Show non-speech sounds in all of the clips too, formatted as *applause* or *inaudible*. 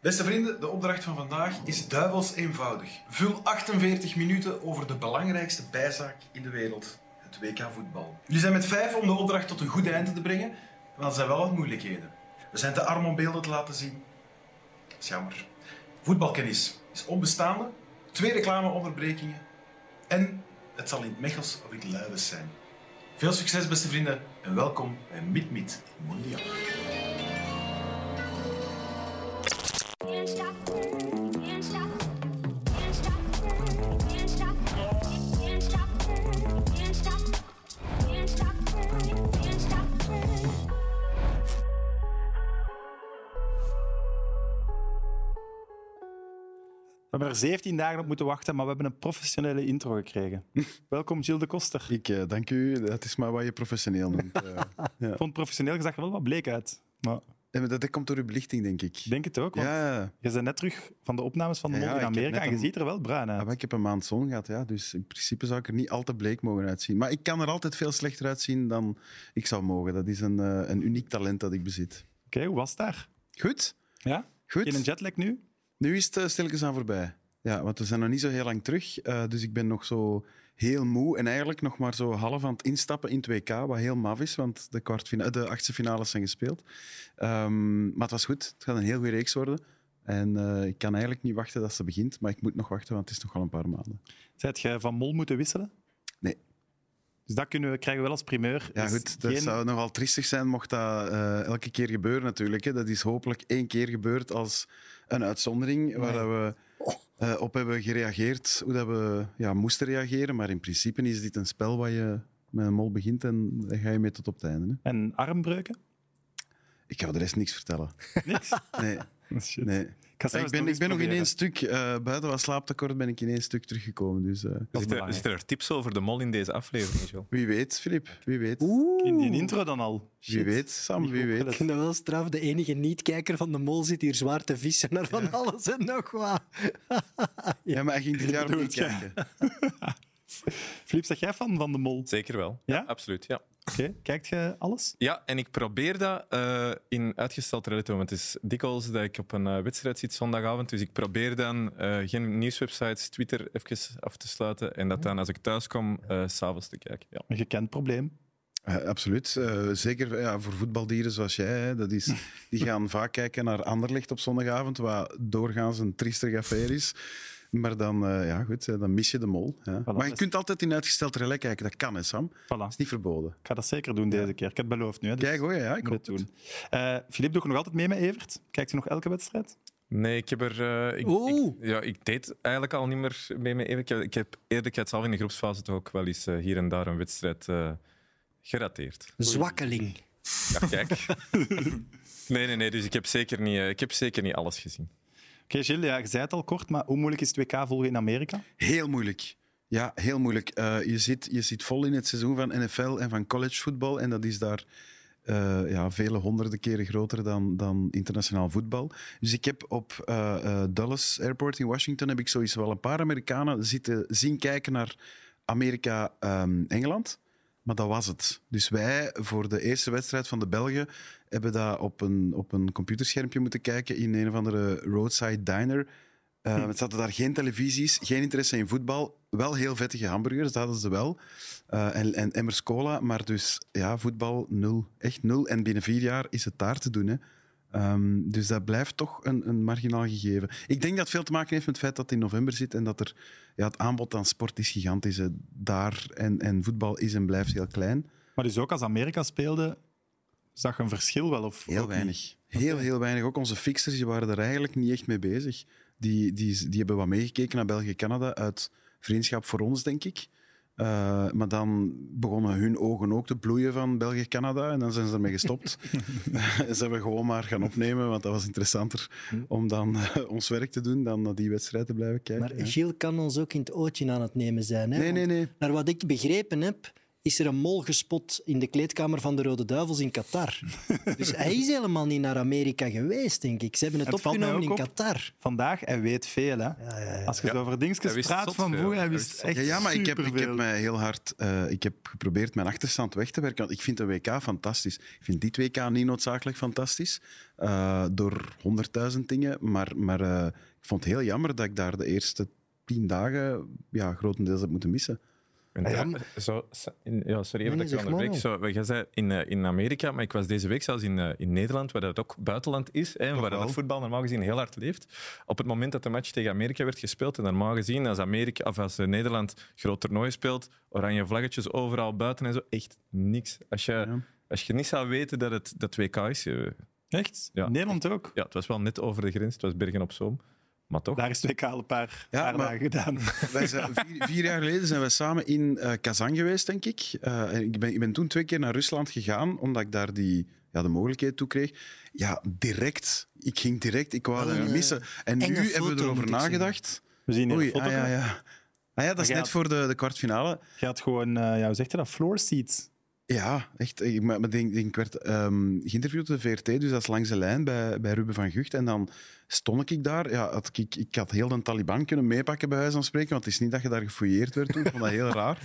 Beste vrienden, de opdracht van vandaag is duivels eenvoudig. Vul 48 minuten over de belangrijkste bijzaak in de wereld, het WK voetbal. Jullie zijn met vijf om de opdracht tot een goed einde te brengen, maar er zijn wel wat moeilijkheden. We zijn te arm om beelden te laten zien. Dat is jammer. Voetbalkennis is onbestaande, twee reclameonderbrekingen en het zal in het Mechels of in het Luiwes zijn. Veel succes, beste vrienden, en welkom bij Mid Mid Mondiaal. Can't stop, can't stop, can't stop, can't stop, can't stop, can't stop, can't stop, can't stop. We hebben er 17 dagen op moeten wachten, maar we hebben een professionele intro *laughs* gekregen. Welkom, Gilles de Koster. Ik eh, dank u. Dat is maar wat je professioneel noemt. eh. Ik vond professioneel gezegd er wel wat bleek uit. Maar Ja, maar dat, dat komt door uw belichting, denk ik. ik denk het ook, want ja, je bent net terug van de opnames van de Ja, Mol ik in heb Amerika net en je een- ziet er wel bruin Ah, uit. maar ik heb een maand zon gehad, ja, dus in principe zou ik er niet al te bleek mogen uitzien. Maar ik kan er altijd veel slechter uitzien dan ik zou mogen. Dat is een, eh, een uniek talent dat ik bezit. Oké, hoe was het daar? Goed, Ja? goed. In een jetlag nu? Nu is het eh, stilletjes aan voorbij. Ja, want we zijn nog niet zo heel lang terug. eh, dus ik ben nog zo heel moe. En eigenlijk nog maar zo half aan het instappen in 2K. Wat heel maf is, want de, kwartfina- de achtste finales zijn gespeeld. Ehm, maar het was goed. Het gaat een heel goede reeks worden. En eh, ik kan eigenlijk niet wachten dat ze begint. Maar ik moet nog wachten, want het is nog wel een paar maanden. Zijt je van Mol moeten wisselen? Nee. Dus dat kunnen we, krijgen we wel als primeur. Ja, Dus goed. Dat geen- zou nogal triestig zijn mocht dat eh, elke keer gebeuren, natuurlijk. Hè. Dat is hopelijk één keer gebeurd als een uitzondering waar dat we eh, op hebben gereageerd, hoe dat we ja, moesten reageren. Maar in principe is dit een spel waar je met een mol begint en daar ga je mee tot op het einde. Hè. En armbreuken? Ik ga de rest niks vertellen. Niks? *laughs* Oh, Nee, Shit. nee. ga zelfs ik ben, ik eens ben nog in proberen. één stuk, eh, buiten wat slaaptekort, ben ik in één stuk teruggekomen. Dus eh, Dat is Zitten er, belangrijk. zitten er tips over de mol in deze aflevering, Joe? wie weet, Filip, wie weet. In die intro dan al. Wie weet, Sam, Niet wie goed weet. Ik opgelet. vind dat wel straf. De enige niet-kijker van de mol zit hier zwaar te vissen naar van alles en nog wat. Ja, maar hij ging dit *laughs* jaar ook niet bedoelt, ja. kijken. Filip, zeg jij van Van de Mol? Zeker wel. Ja? Absoluut, ja. Oké, kijkt je alles? Ja, en ik probeer dat eh, in uitgesteld relatief. Want het is dikwijls dat ik op een eh, wedstrijd zit zondagavond. Dus ik probeer dan eh, geen nieuwswebsites, Twitter even af te sluiten. En dat dan als ik thuis kom, eh, s s'avonds te kijken. Ja. Een gekend probleem. Eh, absoluut. Eh, zeker ja, voor voetbaldieren zoals jij. Hè, dat *laughs* is, die gaan vaak kijken naar Anderlecht op zondagavond, wat doorgaans een triestig affaire is. Maar dan, eh, ja, goed, eh, dan mis je de mol. Ja. maar je dus- kunt altijd in uitgesteld relais kijken. Dat kan, hè, Sam. Dat Voilà. is niet verboden. Ik ga dat zeker doen deze keer. Ik heb het beloofd nu. Hè, dus Kijk, hoor, ja, ik ik moet het hoop doen. Eh Filip, doe je nog altijd mee met Evert? Kijkt u nog elke wedstrijd? Nee, ik heb er. eh, ik, Oeh. ik- ja, ik deed eigenlijk al niet meer mee met Erik. Ik heb eerlijkheidshalve in de groepsfase toch ook wel eens eh, hier en daar een wedstrijd eh, gerateerd. Zwakkeling. Ja, *laughs* kijk. nee, nee, nee. Dus ik heb zeker niet, eh, ik heb zeker niet alles gezien. Oké, Gilles, ja, je zei het al kort, maar hoe moeilijk is het WK volgen in Amerika? Heel moeilijk. Ja, heel moeilijk. Eh, je, zit, je zit vol in het seizoen van NFL en van collegevoetbal. En dat is daar eh, ja, vele honderden keren groter dan, dan internationaal voetbal. Dus ik heb op eh, eh, Dallas Airport in Washington heb ik sowieso wel een paar Amerikanen zitten zien kijken naar Amerika-Engeland. maar dat was het. Dus wij, voor de eerste wedstrijd van de Belgen, hebben dat op een, op een computerschermpje moeten kijken in een of andere roadside diner. Eh, Het zaten daar geen televisies, geen interesse in voetbal. Wel heel vettige hamburgers, dat hadden ze wel. Eh, en, en emmers cola, maar dus ja, voetbal nul. Echt nul. En binnen vier jaar is het daar te doen. Hè. Ehm, dus dat blijft toch een, een marginaal gegeven. Ik denk dat het veel te maken heeft met het feit dat het in november zit en dat er, ja, het aanbod aan sport is gigantisch. hè. Daar en, en voetbal is en blijft heel klein. Maar dus ook als Amerika speelde, zag je een verschil wel? Of Heel ook niet? weinig. Heel, heel weinig. Ook onze fixers die waren er eigenlijk niet echt mee bezig. Die, die, die hebben wat meegekeken naar België-Canada uit vriendschap voor ons, denk ik. Eh, maar dan begonnen hun ogen ook te bloeien van België-Canada en dan zijn ze ermee gestopt. *laughs* ze hebben gewoon maar gaan opnemen, want dat was interessanter om dan eh, ons werk te doen dan naar die wedstrijd te blijven kijken. Maar Gilles kan ons ook in het ootje aan het nemen zijn. Hè? Nee, nee, nee. Want Naar wat ik begrepen heb, is er een mol gespot in de kleedkamer van de Rode Duivels in *laughs* Qatar. dus hij is helemaal niet naar Amerika geweest, denk ik. Ze hebben het, Het valt mij opgenomen in ook op. Qatar. Vandaag, hij weet veel, hè. Ja, ja, ja. Als je Ja. zo over Hij dingetjes wist praat zot van veel. vroeger, hij Hij wist wist echt Ja, ja, maar ik heb, ik heb superveel. mij heel hard eh, ik heb geprobeerd mijn achterstand weg te werken. Want ik vind een WK fantastisch. Ik vind dit WK niet noodzakelijk fantastisch. eh, door honderdduizend dingen. Maar, maar eh, ik vond het heel jammer dat ik daar de eerste tien dagen ja, grotendeels heb moeten *laughs* missen. En Ah Ja, ja, maar- zo, zo- in- ja, sorry even dat ik Nee, nee, je zeg maar, onderbreek. Zo, Jij zei in, eh, in Amerika, maar ik was deze week zelfs in, eh, in Nederland, waar dat ook buitenland is, hè, en waar dat wel. het voetbal normaal gezien heel hard leeft. Op het moment dat de match tegen Amerika werd gespeeld, en normaal gezien als, Amerika, of als eh, Nederland groot toernooi speelt, oranje vlaggetjes overal buiten en zo, echt niks. Als je, Ja. als je niet zou weten dat het dat 2K is, eh, Echt? Ja. Nederland ook. ja, het was wel net over de grens, het was Bergen op Zoom, maar toch. Daar is twee kaal een paar, Ja, paar maar- dagen *laughs* gedaan. Wij zijn, vier, vier jaar geleden zijn we samen in eh Kazan geweest, denk ik. Eh, en ik, ben, ik ben toen twee keer naar Rusland gegaan, omdat ik daar die, ja, de mogelijkheid toe kreeg. Ja, direct. Ik ging direct. Ik wou Wel dat een, niet missen. En nu Oh, enge hebben we foto, erover moet ik zeggen. nagedacht. We zien hier Oei, een foto. ah, ja, ja. Ah, ja, dat is Maar net ja, voor de, de kwartfinale. Je had gewoon, eh, ja, hoe zegt je dat? Floor seats. Ja, echt. Ik, maar, maar denk, denk, ik werd ehm, geïnterviewd op de VRT, dus dat is langs de lijn bij, bij Ruben van Gucht. En dan stond ik daar. Ja, had ik- ik, ik had heel de Taliban kunnen meepakken, bij huis van spreken, want het is niet dat je daar gefouilleerd werd toen. Ik vond dat heel *laughs* raar.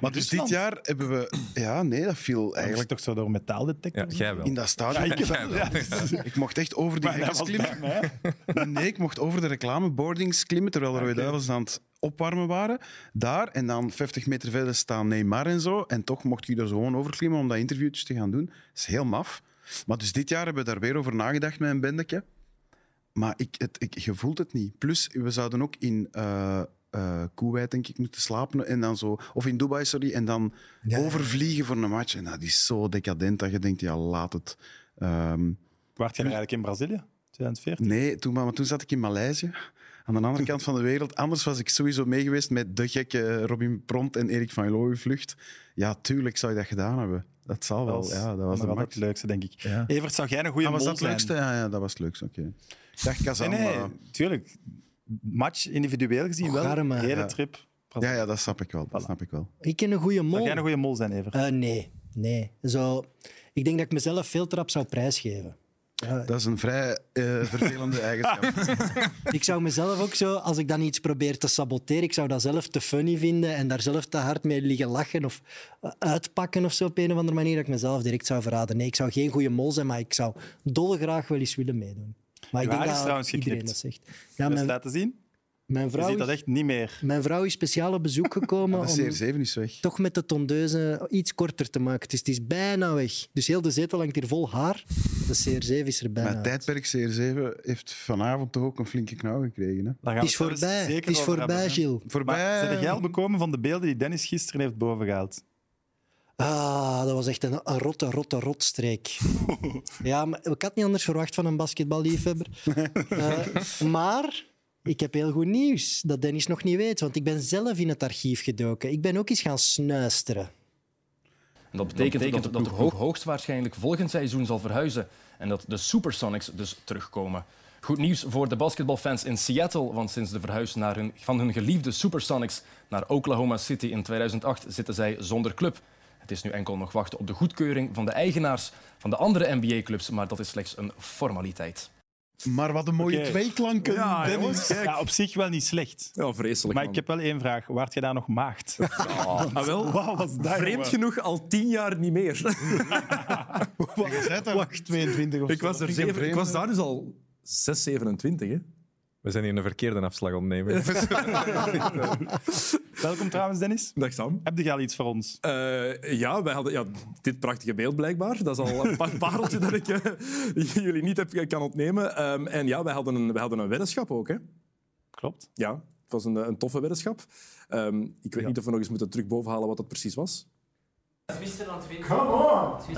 Maar dus dit Rusland. jaar hebben we... Ja, nee, dat viel Eigenlijk eigenlijk toch zo door Ja, metaaldetectors. jij wel. in dat stadion. ik heb Jij wel. *laughs* ja, *laughs* Ik mocht echt over die maar dat hekjes was klimmen. bij mij. Nee, ik mocht over de reclameboardings klimmen, terwijl de Rode Oké. Duivels aan het opwarmen waren. Daar, en dan 50 meter verder staan Neymar en zo. En toch mocht je er zo gewoon over klimmen om dat interviewtje te gaan doen. Dat is heel maf. Maar dus dit jaar hebben we daar weer over nagedacht met een bendetje. Maar ik, het, ik, je voelt het niet. Plus, we zouden ook in eh eh, Kuwait, denk ik, moeten slapen. En dan zo, of in Dubai, sorry. En dan overvliegen voor een match. En dat is zo decadent dat je denkt, ja, laat het. Ehm, Waart je eigenlijk in Brazilië? 2014? Nee, toen, maar toen zat ik in Maleisië. Aan de andere kant van de wereld. Anders was ik sowieso mee geweest met de gekke Robin Pront en Erik van Looy vlucht. Ja, tuurlijk zou je dat gedaan hebben. Dat zal wel. ja, dat was de wel max. het leukste, denk ik. Ja. Evert, zou jij een goede Ah, was mol dat het zijn? leukste? Ja, ja, dat was het leukste. Oké. Dag Kazan. eh, Nee, maar- nee, tuurlijk. Match individueel gezien wel. Garme. Hele Ja. trip. Ja, ja, dat snap ik wel. Dat Voilà. snap ik wel. Ik ken een goede mol. Zou jij een goede mol zijn, Evert? Eh, nee, nee. Zo, ik denk dat ik mezelf veel trap zou prijsgeven. Ja, Dat is een vrij eh, *laughs* vervelende eigenschap. ik zou mezelf ook zo, als ik dan iets probeer te saboteren, ik zou dat zelf te funny vinden en daar zelf te hard mee liggen lachen of eh, uitpakken of zo op een of andere manier, dat ik mezelf direct zou verraden. Nee, ik zou geen goede mol zijn, maar ik zou dolgraag wel eens willen meedoen. Maar ik Uw haar denk is dat trouwens iedereen geknipt. dat zegt. Ja, Dat is mijn, laten Dus zien. mijn, Je vrouw ziet dat is, echt niet meer. mijn vrouw is speciaal op *laughs* bezoek gekomen De om, CR7 is weg. toch met de tondeuze iets korter te maken. Dus het is bijna weg. Dus heel de zetel hangt hier vol haar. De CR7 is er bijna. Maar tijdperk CR7 heeft vanavond toch ook een flinke knauw gekregen. Hè? Daar gaan Het we is zelfs voorbij. zeker Het is over hebben, voorbij, hè. Gilles. Voorbij. Maar zijn jij al bekomen van de beelden die Dennis gisteren heeft bovengehaald? Ah, dat was echt een, een rotte, rotte, rotstreek. ja, maar ik had niet anders verwacht van een basketballiefhebber. Eh, maar ik heb heel goed nieuws dat Dennis nog niet weet, want ik ben zelf in het archief gedoken. Ik ben ook eens gaan snuisteren. En dat betekent, dat, dat de ploeg hoogstwaarschijnlijk volgend seizoen zal verhuizen en dat de Supersonics dus terugkomen. Goed nieuws voor de basketbalfans in Seattle, want sinds de verhuis naar hun, van hun geliefde Supersonics naar Oklahoma City in 2008 zitten zij zonder club. Het is nu enkel nog wachten op de goedkeuring van de eigenaars van de andere NBA-clubs, maar dat is slechts een formaliteit. Maar wat een mooie Oké. tweeklanken. Ja, Dennis. ja, op zich wel niet slecht. Ja, vreselijk. Maar man. ik heb wel één vraag. Waart je daar nog maagd? Ah, wel, Wauw, was dat? vreemd jongen? genoeg al tien jaar niet meer. Je zei daar- Wacht, 22 of ik, zo. was er Vind je zeven, ik vreemd, was daar dus al 6, 27. Hè. We zijn hier een verkeerde afslag *laughs* ontnemen. Welkom trouwens, Dennis. Dag Sam. Heb je al iets voor ons? Eh, ja, wij hadden ja, dit prachtige beeld blijkbaar. Dat is al een pa- *laughs* pareltje dat ik eh, *laughs* jullie niet heb, kan ontnemen. Ehm, en ja, wij hadden een, wij hadden een weddenschap ook. Hè. Klopt. Ja, het was een, eh, een toffe weddenschap. Ehm, ik weet niet of we nog eens moeten terug bovenhalen wat dat precies was. Ik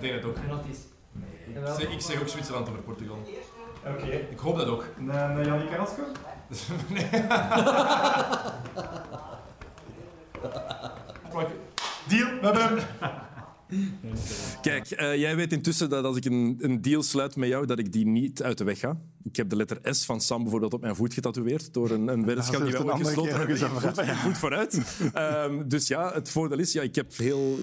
denk het ook. Ik zeg ook Zwitserland over Portugal. Oké. Ik hoop dat ook. Naar Jannie Carrasco? Kijk, Kijk, eh, jij weet intussen dat als ik een, een deal sluit met jou, dat ik die niet uit de weg ga. Ik heb de letter S van Sam bijvoorbeeld op mijn voet getatoeëerd door een, een weddenschap die heeft wij een ooit andere gesloten keer ook hebben. eens Je voet, je voet vooruit. Ehm, dus ja, het voordeel is, ja, ik heb heel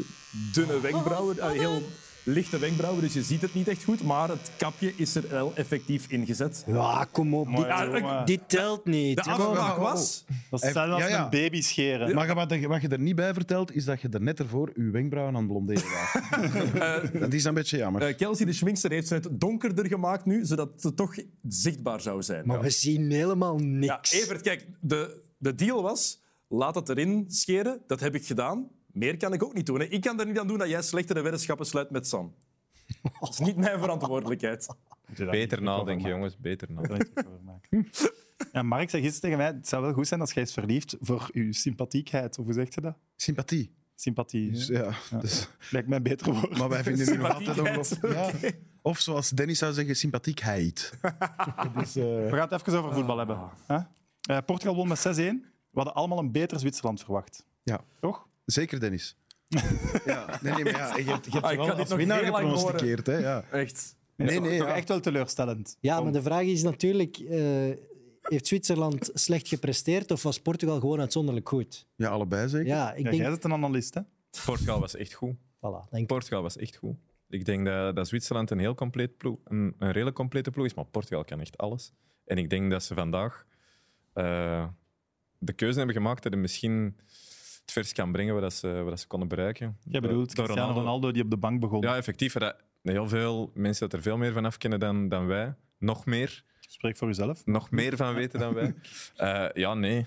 dunne wenkbrauwen, eh, heel lichte wenkbrauwen, dus je ziet het niet echt goed. Maar het kapje is er wel effectief ingezet. Ja, kom op. Dit, Ja, ik- dit telt niet. de afspraak oh, oh. was... Dat is hetzelfde Ja, als ja. een baby scheren. Maar wat je, wat je er niet bij vertelt, is dat je er net ervoor je wenkbrauwen aan het blonderen was. *laughs* dat is een beetje jammer. eh, Kelsey, de schminkster, heeft ze het donkerder gemaakt nu, zodat het toch zichtbaar zou zijn. Maar we zien helemaal niks. Ja, Evert, kijk, de, de deal was, laat het erin scheren. Dat heb ik gedaan. Meer kan ik ook niet doen. Hè. Ik kan er niet aan doen dat jij slechtere weddenschappen sluit met Sam. Dat is niet mijn verantwoordelijkheid. Beter nadenken, jongens. Beter nadenken. *laughs* Ja, Mark zei gisteren tegen mij, het zou wel goed zijn als jij eens verliefd voor uw sympathiekheid. Of hoe zeg je dat? Sympathie. Sympathie. Dus, ja, dus- Lijkt mij een beter woord. maar wij vinden nu nog altijd Sympathiekheid. ongelooflijk. Ja. Of zoals Dennis zou zeggen, sympathiekheid. We gaan het even over voetbal hebben. Ah. Huh? Eh, Portugal won met 6-1. We hadden allemaal een beter Zwitserland verwacht. Ja. Toch? Zeker Dennis. ja, nee, nee, maar ja, je hebt, je hebt Ah, ze ik wel kan dit als nog winnaar heel lang gepronosticeerd. Hè, ja. Echt. Nee, nee, Toch ja. echt wel teleurstellend. Ja, maar de vraag is natuurlijk... eh, heeft Zwitserland slecht gepresteerd of was Portugal gewoon uitzonderlijk goed? ja, allebei zeker. Ja, ik Ja, denk... Jij bent een analist, hè? Portugal was echt goed. Voilà, denk Portugal was echt goed. Ik denk dat, dat Zwitserland een heel compleet ploeg, een, een redelijk complete ploeg is, maar Portugal kan echt alles. En ik denk dat ze vandaag eh, de keuze hebben gemaakt dat het misschien het vers kan brengen wat dat ze, wat dat ze konden bereiken. Jij Door- bedoelt door Cristiano Ronaldo. die op de bank begon. Ja, effectief. Dat, heel veel mensen dat er veel meer van afkennen dan, dan wij. Nog meer. Spreek voor jezelf. Nog meer van weten dan *laughs* wij. Eh, ja, nee.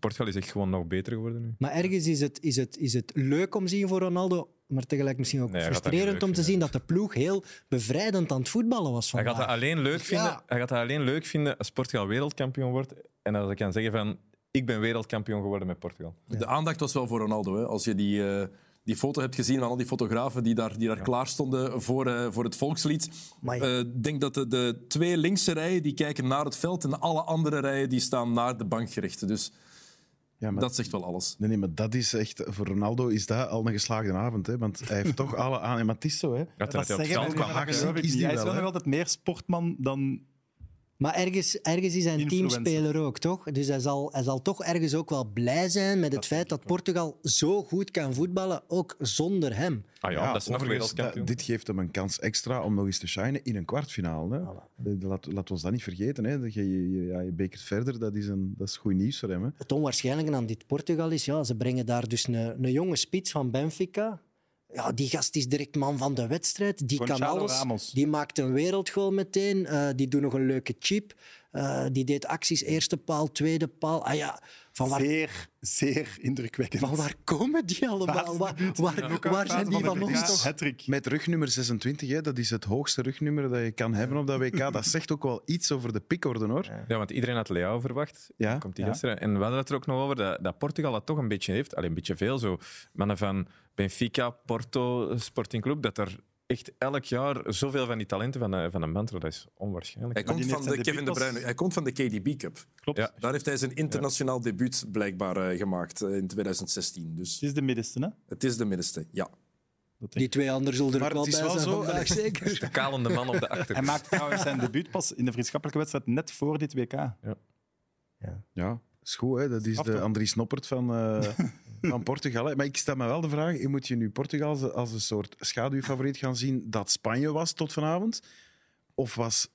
Portugal is echt gewoon nog beter geworden nu. Maar ergens is het, is, het, is het leuk om te zien voor Ronaldo, maar tegelijk misschien ook Nee, hij gaat dat frustrerend niet leuk om te zien vinden. dat de ploeg heel bevrijdend aan het voetballen was Hij gaat, dat vandaag. alleen leuk vinden, hij gaat dat alleen leuk vinden als Portugal wereldkampioen wordt. En als ik kan zeggen van, ik ben wereldkampioen geworden met Portugal. De aandacht was wel voor Ronaldo. Hè. Als je die, eh, die foto hebt gezien van al die fotografen die daar, die daar klaar stonden voor, eh, voor het volkslied. Eh, Amai. Ik denk dat de, de twee linkse rijen die kijken naar het veld en alle andere rijen die staan naar de bank gericht. Dus Ja, maar dat zegt wel alles. Nee, nee, maar dat is echt... Voor Ronaldo is dat al een geslaagde avond, hè. Want hij heeft toch alle aan... En maar het is zo, hè. Ja, dat hij op zeggen het we veld qua niet, maar dat actie geloof ik is die niet. Hij is wel, wel hè? nog altijd meer sportman dan... Maar ergens, ergens is hij een Influencer. teamspeler ook, toch? Dus hij zal, hij zal toch ergens ook wel blij zijn met het feit dat Portugal zo goed kan voetballen, ook zonder hem. Ah ja, dat is nog overigens, wereldkampioen. dat- dit geeft hem een kans extra om nog eens te shinen in een kwartfinale. Hè. Eh, Laat, laat ons dat niet vergeten. Hè. Dat Je, je, je- ja, je bekert verder, dat is, een, dat is goed nieuws voor hem. Hè. Het onwaarschijnlijke aan dit Portugal is, ja, ze brengen daar dus een, een jonge spits van Benfica. Ja, die gast is direct man van de wedstrijd. Die kan Gonçalo alles. Ramos. Die maakt een wereldgoal meteen. Eh, die doet nog een leuke chip. Eh, die deed acties, eerste paal, tweede paal. Ah ja, van waar, Zeer, zeer indrukwekkend. van waar komen die allemaal? Waar, waar, waar zijn die van ons toch? Hattrick. Met rugnummer 26, hè, dat is het hoogste rugnummer dat je kan hebben op dat WK. Dat zegt ook wel iets over de pikorde, hoor. Ja, want iedereen had Leao verwacht. Ja, Dan komt die ja. gisteren. En we hadden het er ook nog over dat, dat Portugal dat toch een beetje heeft. Alleen een beetje veel zo. Mannen van Benfica, Porto, Sporting Club. Dat er echt elk jaar zoveel van die talenten van, eh, van een mantra. Dat is onwaarschijnlijk. Hij komt die van net de zijn Kevin De debuut was- Bruyne. Hij komt van de KDB Cup. Klopt. Ja. Daar heeft hij zijn internationaal debuut blijkbaar eh, gemaakt eh, in 2016. Dus Het is de middenste, hè? het is de middenste, ja. Dat denk Die ik. twee anderen zullen er Maar wel het bij is zijn wel zo- vandaag, zeker. De kalende man op de achter. Hij maakt trouwens zijn debuut pas in de vriendschappelijke wedstrijd net voor dit WK. Ja, is goed. Hè? Dat is Straf, de toch? Andries Noppert van, *laughs* eh, van Portugal. Hè? Maar ik stel me wel de vraag, je moet je nu Portugal als- als een soort schaduwfavoriet gaan zien dat Spanje was tot vanavond? Of was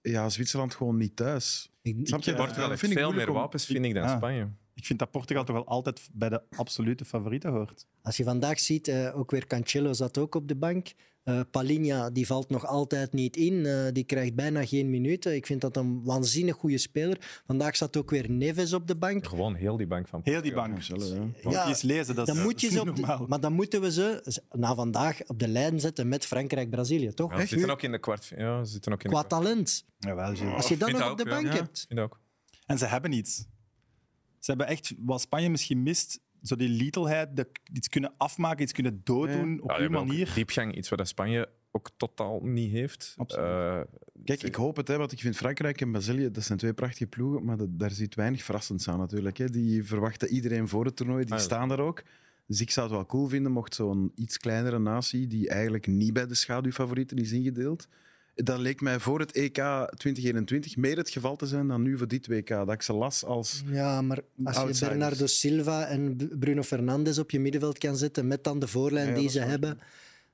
ja, Zwitserland gewoon niet thuis? Ik- eh, Snap je? Portugal Dat heeft vind ik veel meer moeilijk om- wapens, vind ik, dan Ah. Spanje. Ik vind dat Portugal toch wel altijd bij de absolute favorieten hoort. Als je vandaag ziet, eh, ook weer Cancelo zat ook op de bank. Eh Palinha die valt nog altijd niet in. Eh, die krijgt bijna geen minuten. Ik vind dat een waanzinnig goede speler. Vandaag zat ook weer Neves op de bank. Gewoon heel die bank van Heel die bank. Zelf, hè. Want Ja, die is lezen, dat is, Dan moet je *laughs* dat is ze niet op de, normaal. maar dan moeten we ze z- na vandaag op de lijn zetten met Frankrijk-Brazilië, toch? Ja, ze zitten ook in de kwart. Ja, ze zitten ook in Qua de kwart. talent. Jawel, Gilles. Als je dat Vind nog dat op de ook, ja. bank Ja. hebt. Vind ik ook. En ze hebben iets. Ze hebben echt, wat Spanje misschien mist, zo die littleheid, dat iets kunnen afmaken, iets kunnen dooddoen op die Ja, die hebben ook manier. Diepgang, iets wat dat Spanje ook totaal niet heeft. Absoluut. Eh, Kijk, ik hoop het, hè, want ik vind Frankrijk en Brazilië, dat zijn twee prachtige ploegen, maar dat- daar zit weinig verrassends aan natuurlijk. Hè. Die verwachten iedereen voor het toernooi, die Ah, ja. staan daar ook. Dus ik zou het wel cool vinden mocht zo'n iets kleinere natie, die eigenlijk niet bij de schaduwfavorieten is ingedeeld, dat leek mij voor het EK 2021 meer het geval te zijn dan nu voor dit WK. Dat ik ze las als... Ja, maar als Outsiders. je Bernardo Silva en B- Bruno Fernandes op je middenveld kan zetten met dan de voorlijn Ja, ja, die dat ze is waar. hebben.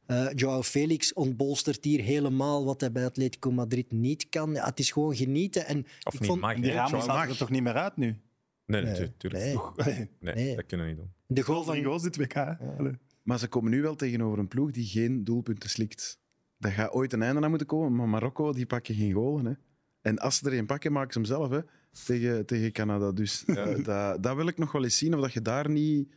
eh Joao Felix ontbolstert hier helemaal wat hij bij Atletico Madrid niet kan. Ja, het is gewoon genieten. En Of ik niet, vond maakt Die niet uit. ramen zaten er toch niet meer uit nu? Nee, Nee. natuurlijk. Nee, Nee. nee, Nee. dat kunnen we niet doen. de goal Goal van van goals dit WK. hè? Allee. Maar ze komen nu wel tegenover een ploeg die geen doelpunten slikt. Daar gaat ooit een einde aan moeten komen, maar Marokko die pakken geen golen. Hè. En als ze er een pakken, maken ze hem zelf hè, tegen, tegen Canada. Dus eh, *laughs* dat, dat wil ik nog wel eens zien, of dat je daar niet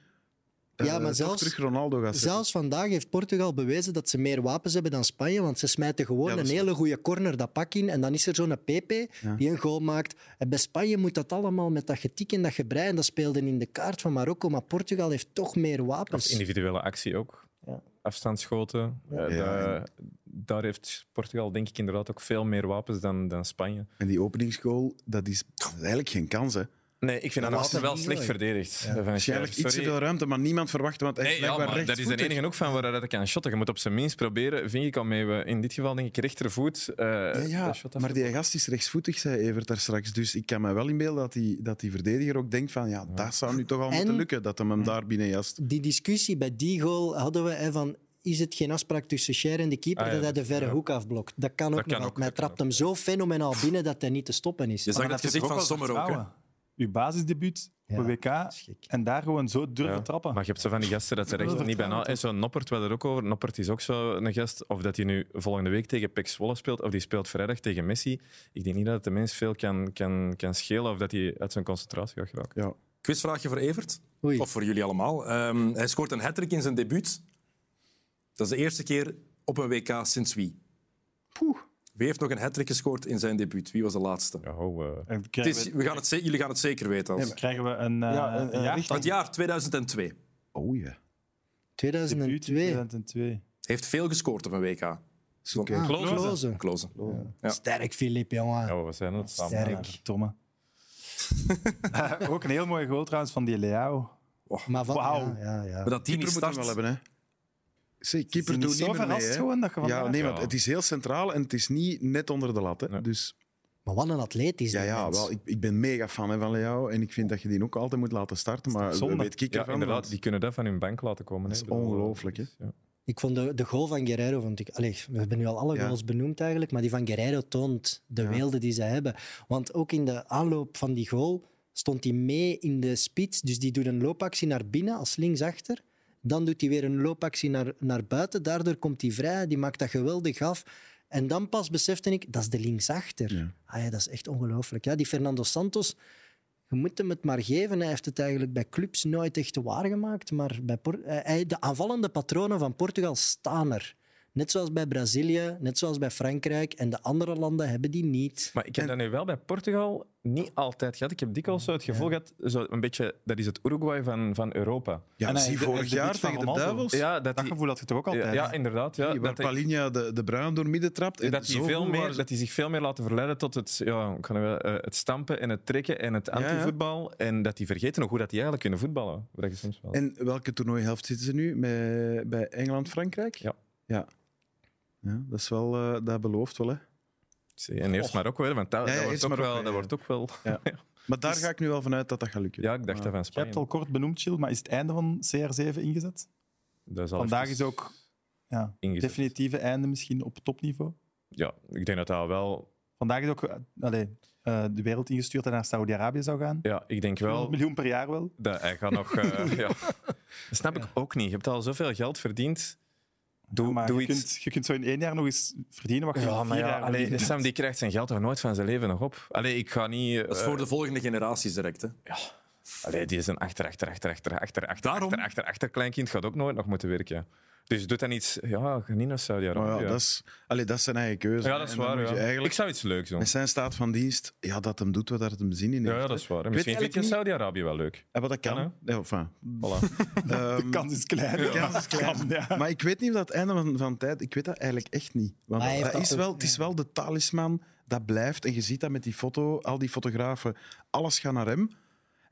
eh, Ja, maar toch zelfs- terug Ronaldo gaat zetten. Zelfs vandaag heeft Portugal bewezen dat ze meer wapens hebben dan Spanje, want ze smijten gewoon Ja, dat een is hele goede corner dat pak in en dan is er zo'n Pepe Ja. die een goal maakt. En bij Spanje moet dat allemaal met dat getik en dat gebrei en dat speelde in de kaart van Marokko, maar Portugal heeft toch meer Of wapens. individuele actie ook. Ja. Afstandsschoten. Eh, Ja, daar- Daar heeft Portugal denk ik inderdaad ook veel meer wapens dan, dan Spanje. En die openingsgoal, dat is dat is eigenlijk geen kans. Hè. Nee, ik vind dat was altijd er wel niet, slecht hoor. verdedigd. eh, Van Scherp. Waarschijnlijk iets te Sorry. veel ruimte, maar niemand verwacht, want hij Nee, is ja, blijkbaar maar dat is de rechtsvoetig. enige ook van waar dat kan shotten. Je moet op zijn minst proberen, vind ik al mee. we- In dit geval denk ik rechtervoet. eh dat Ja, ja, shot af- maar die gast is rechtsvoetig, zei Evert daar straks. Dus ik kan me wel inbeelden dat die, dat die verdediger ook denkt van ja, dat zou nu toch al En- moeten lukken, dat hem hem daar binnen jast. Die discussie bij die goal hadden we hè, van is het geen afspraak tussen Cher en de keeper Ah, ja, dat hij de verre ja. hoek afblokt? Dat kan ook Dat nog kan ook, altijd. Maar hij dat kan trapt hem zo fenomenaal binnen dat hij niet te stoppen is. Je zag het dat gezicht van heeft toch Sommer ook. hè. vertrouwen. Uw basisdebuut op een WK is gek. en daar gewoon zo durven Ja. trappen. Maar je hebt zo van die gasten dat er echt niet bijna... En zo'n Noppert, we hadden er ook over. Noppert is ook zo'n gast. Of dat hij nu volgende week tegen Pek Zwolle speelt, of die speelt vrijdag tegen Messi. Ik denk niet dat het de mens veel kan, kan, kan schelen of dat hij uit zijn concentratie gaat geraken. Ja. Quizvraagje voor Evert. Oei. Of voor jullie allemaal. Ehm, hij scoort een hat in zijn debuut. Dat is de eerste keer op een WK sinds wie? Wie heeft nog een hat gescoord in zijn debuut? Wie was de laatste? Ja, oh, eh, En Het krijgen, is, we, we gaan het, ze- jullie gaan het zeker weten. Als. krijgen we een, eh Ja, een- een, een jaartal. Het jaar 2002. Oh ja. 2002. Debuut 2002. Heeft veel gescoord op een WK. oké. Ah, Klozen. Klozen. Close. Ja. Sterk, Filip, jongen. ja, wat zijn dat? Sterk. Samen. *laughs* Tomme. Eh, ook een heel mooie goal trouwens van die Leao. Maar van, Wauw. ja, ja, ja. Maar dat die Keeper niet moet hem start... wel hebben, hè. Zie, Ze keeper zijn doet niet niet zo meer mee, verrast hè. gewoon dat je Ja, vandaag- nee, want Ja. het is heel centraal en het is niet net onder de lat, hè. Nee. Dus Maar wat een atleet is ja, die ja mens. wel, ik, ik ben mega fan hè, van Leo en ik vind dat je die ook altijd moet laten starten, maar zonde? weet ik Ja, ervan. inderdaad. want- Die kunnen dat van hun bank laten komen. Dat hè. is Ik bedoel, ongelooflijk, hè. ja. Ik vond de, de goal van Guerreiro... Vond ik, allee, we hebben nu al alle Ja. goals benoemd eigenlijk, maar die van Guerreiro toont de weelde die ze hebben. Want ook in de aanloop van die goal stond hij mee in de spits. Dus die doet een loopactie naar binnen als linksachter. Dan doet hij weer een loopactie naar, naar buiten. Daardoor komt hij vrij. Die maakt dat geweldig af. En dan pas besefte ik, dat is de linksachter. Ja. Ah ja, dat is echt ongelooflijk. Ja, die Fernando Santos, je moet hem het maar geven. Hij heeft het eigenlijk bij clubs nooit echt waargemaakt. Maar bij Por- eh, hij- de aanvallende patronen van Portugal staan er. Net zoals bij Brazilië, net zoals bij Frankrijk. En de andere landen hebben die niet. Maar ik heb dat nu wel bij Portugal niet altijd gehad. Ik heb dikwijls zo het gevoel gehad, zo een beetje, dat is het Uruguay van, van Europa. Ja, En hij- de- zie vorig het debuut jaar van tegen de Ronaldo. Duivels, Ja, dat Dat die, gevoel had je toch ook altijd? ja, inderdaad. Ja, die- waar dat die- Palinha de, de Bruin door midden trapt. en dat die, zo veel goed meer, waren ze- dat die zich veel meer laten verleiden tot het, ja, ik kan het wel, eh, het stampen en het trekken en het ja. antivoetbal. En dat die vergeten nog hoe dat die eigenlijk kunnen voetballen. Wat je soms wel. En welke toernooihelft zitten ze nu? Met, bij Engeland-Frankrijk? Ja. ja. Ja, dat is wel... eh, dat belooft wel, hè. Zie, en eerst maar ook wel, want dat, Ja, ja, dat, eerst wordt, ook Marokko, wel, ja. dat wordt ook wel... Maar daar ga ik nu wel vanuit dat dat gaat lukken. Ja, ik dacht dat van Je hebt het Spanje. al kort benoemd, Chill, maar is het einde van CR7 ingezet? Dat al Vandaag even is ook ja, ingezet. definitieve einde misschien op topniveau. Ja, ik denk dat dat wel... Vandaag is ook eh, allee, eh, de wereld ingestuurd en naar Saudi-Arabië zou gaan. Ja, ik denk 100 wel... miljoen per jaar wel. Dat, hij gaat nog... *laughs* eh, ja. Dat snap ik ook niet. Je hebt al zoveel geld verdiend. Doe, Ja, maar doe je, iets... kunt, je kunt zo in één jaar nog eens verdienen wat je in vier jaar allee, verdient. Sam die krijgt zijn geld toch nooit van zijn leven nog op? Allee, ik ga niet... eh, Dat is voor de volgende generaties direct. Hè. Allee, die is een achter, achter, achter, achter, achter, achter, Daarom? achter, achter, achter kleinkind gaat ook nooit nog moeten werken. Dus doet dan iets... Ja, ga niet naar Maar Saudi-Arabië. Oh ja, Dat, is, allee, dat is zijn eigen keuze. Ja, dat is En dan waar. moet je ja. eigenlijk, Ik zou iets leuks doen. Met zijn staat van dienst, ja, dat hem doet wat dat hem zin in heeft. Ja, ja, dat is waar. Ik Misschien weet vind je eigenlijk Saudi-Arabië wel leuk. Ja, maar dat kan. Kan, ja, enfin. *laughs* Voilà. Ehm, De kans is klein. De kans is klein. Kan, ja. Maar ik weet niet of dat het einde van, van tijd... Ik weet dat eigenlijk echt niet. Want Maar hij heeft dat dat is ook, wel, het is wel de talisman, dat blijft. En je ziet dat met die foto, al die fotografen. Alles gaat naar hem.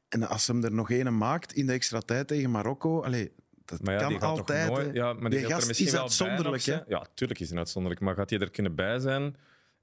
En als hem er nog een maakt in de extra tijd tegen Marokko... Allee, Dat Maar ja, kan die gaat altijd. toch hè. nooit... Ja, maar Die die, gaat gast er misschien is wel bij uitzonderlijk, nog zijn. Ja, tuurlijk is hij uitzonderlijk. Maar gaat hij er kunnen bij zijn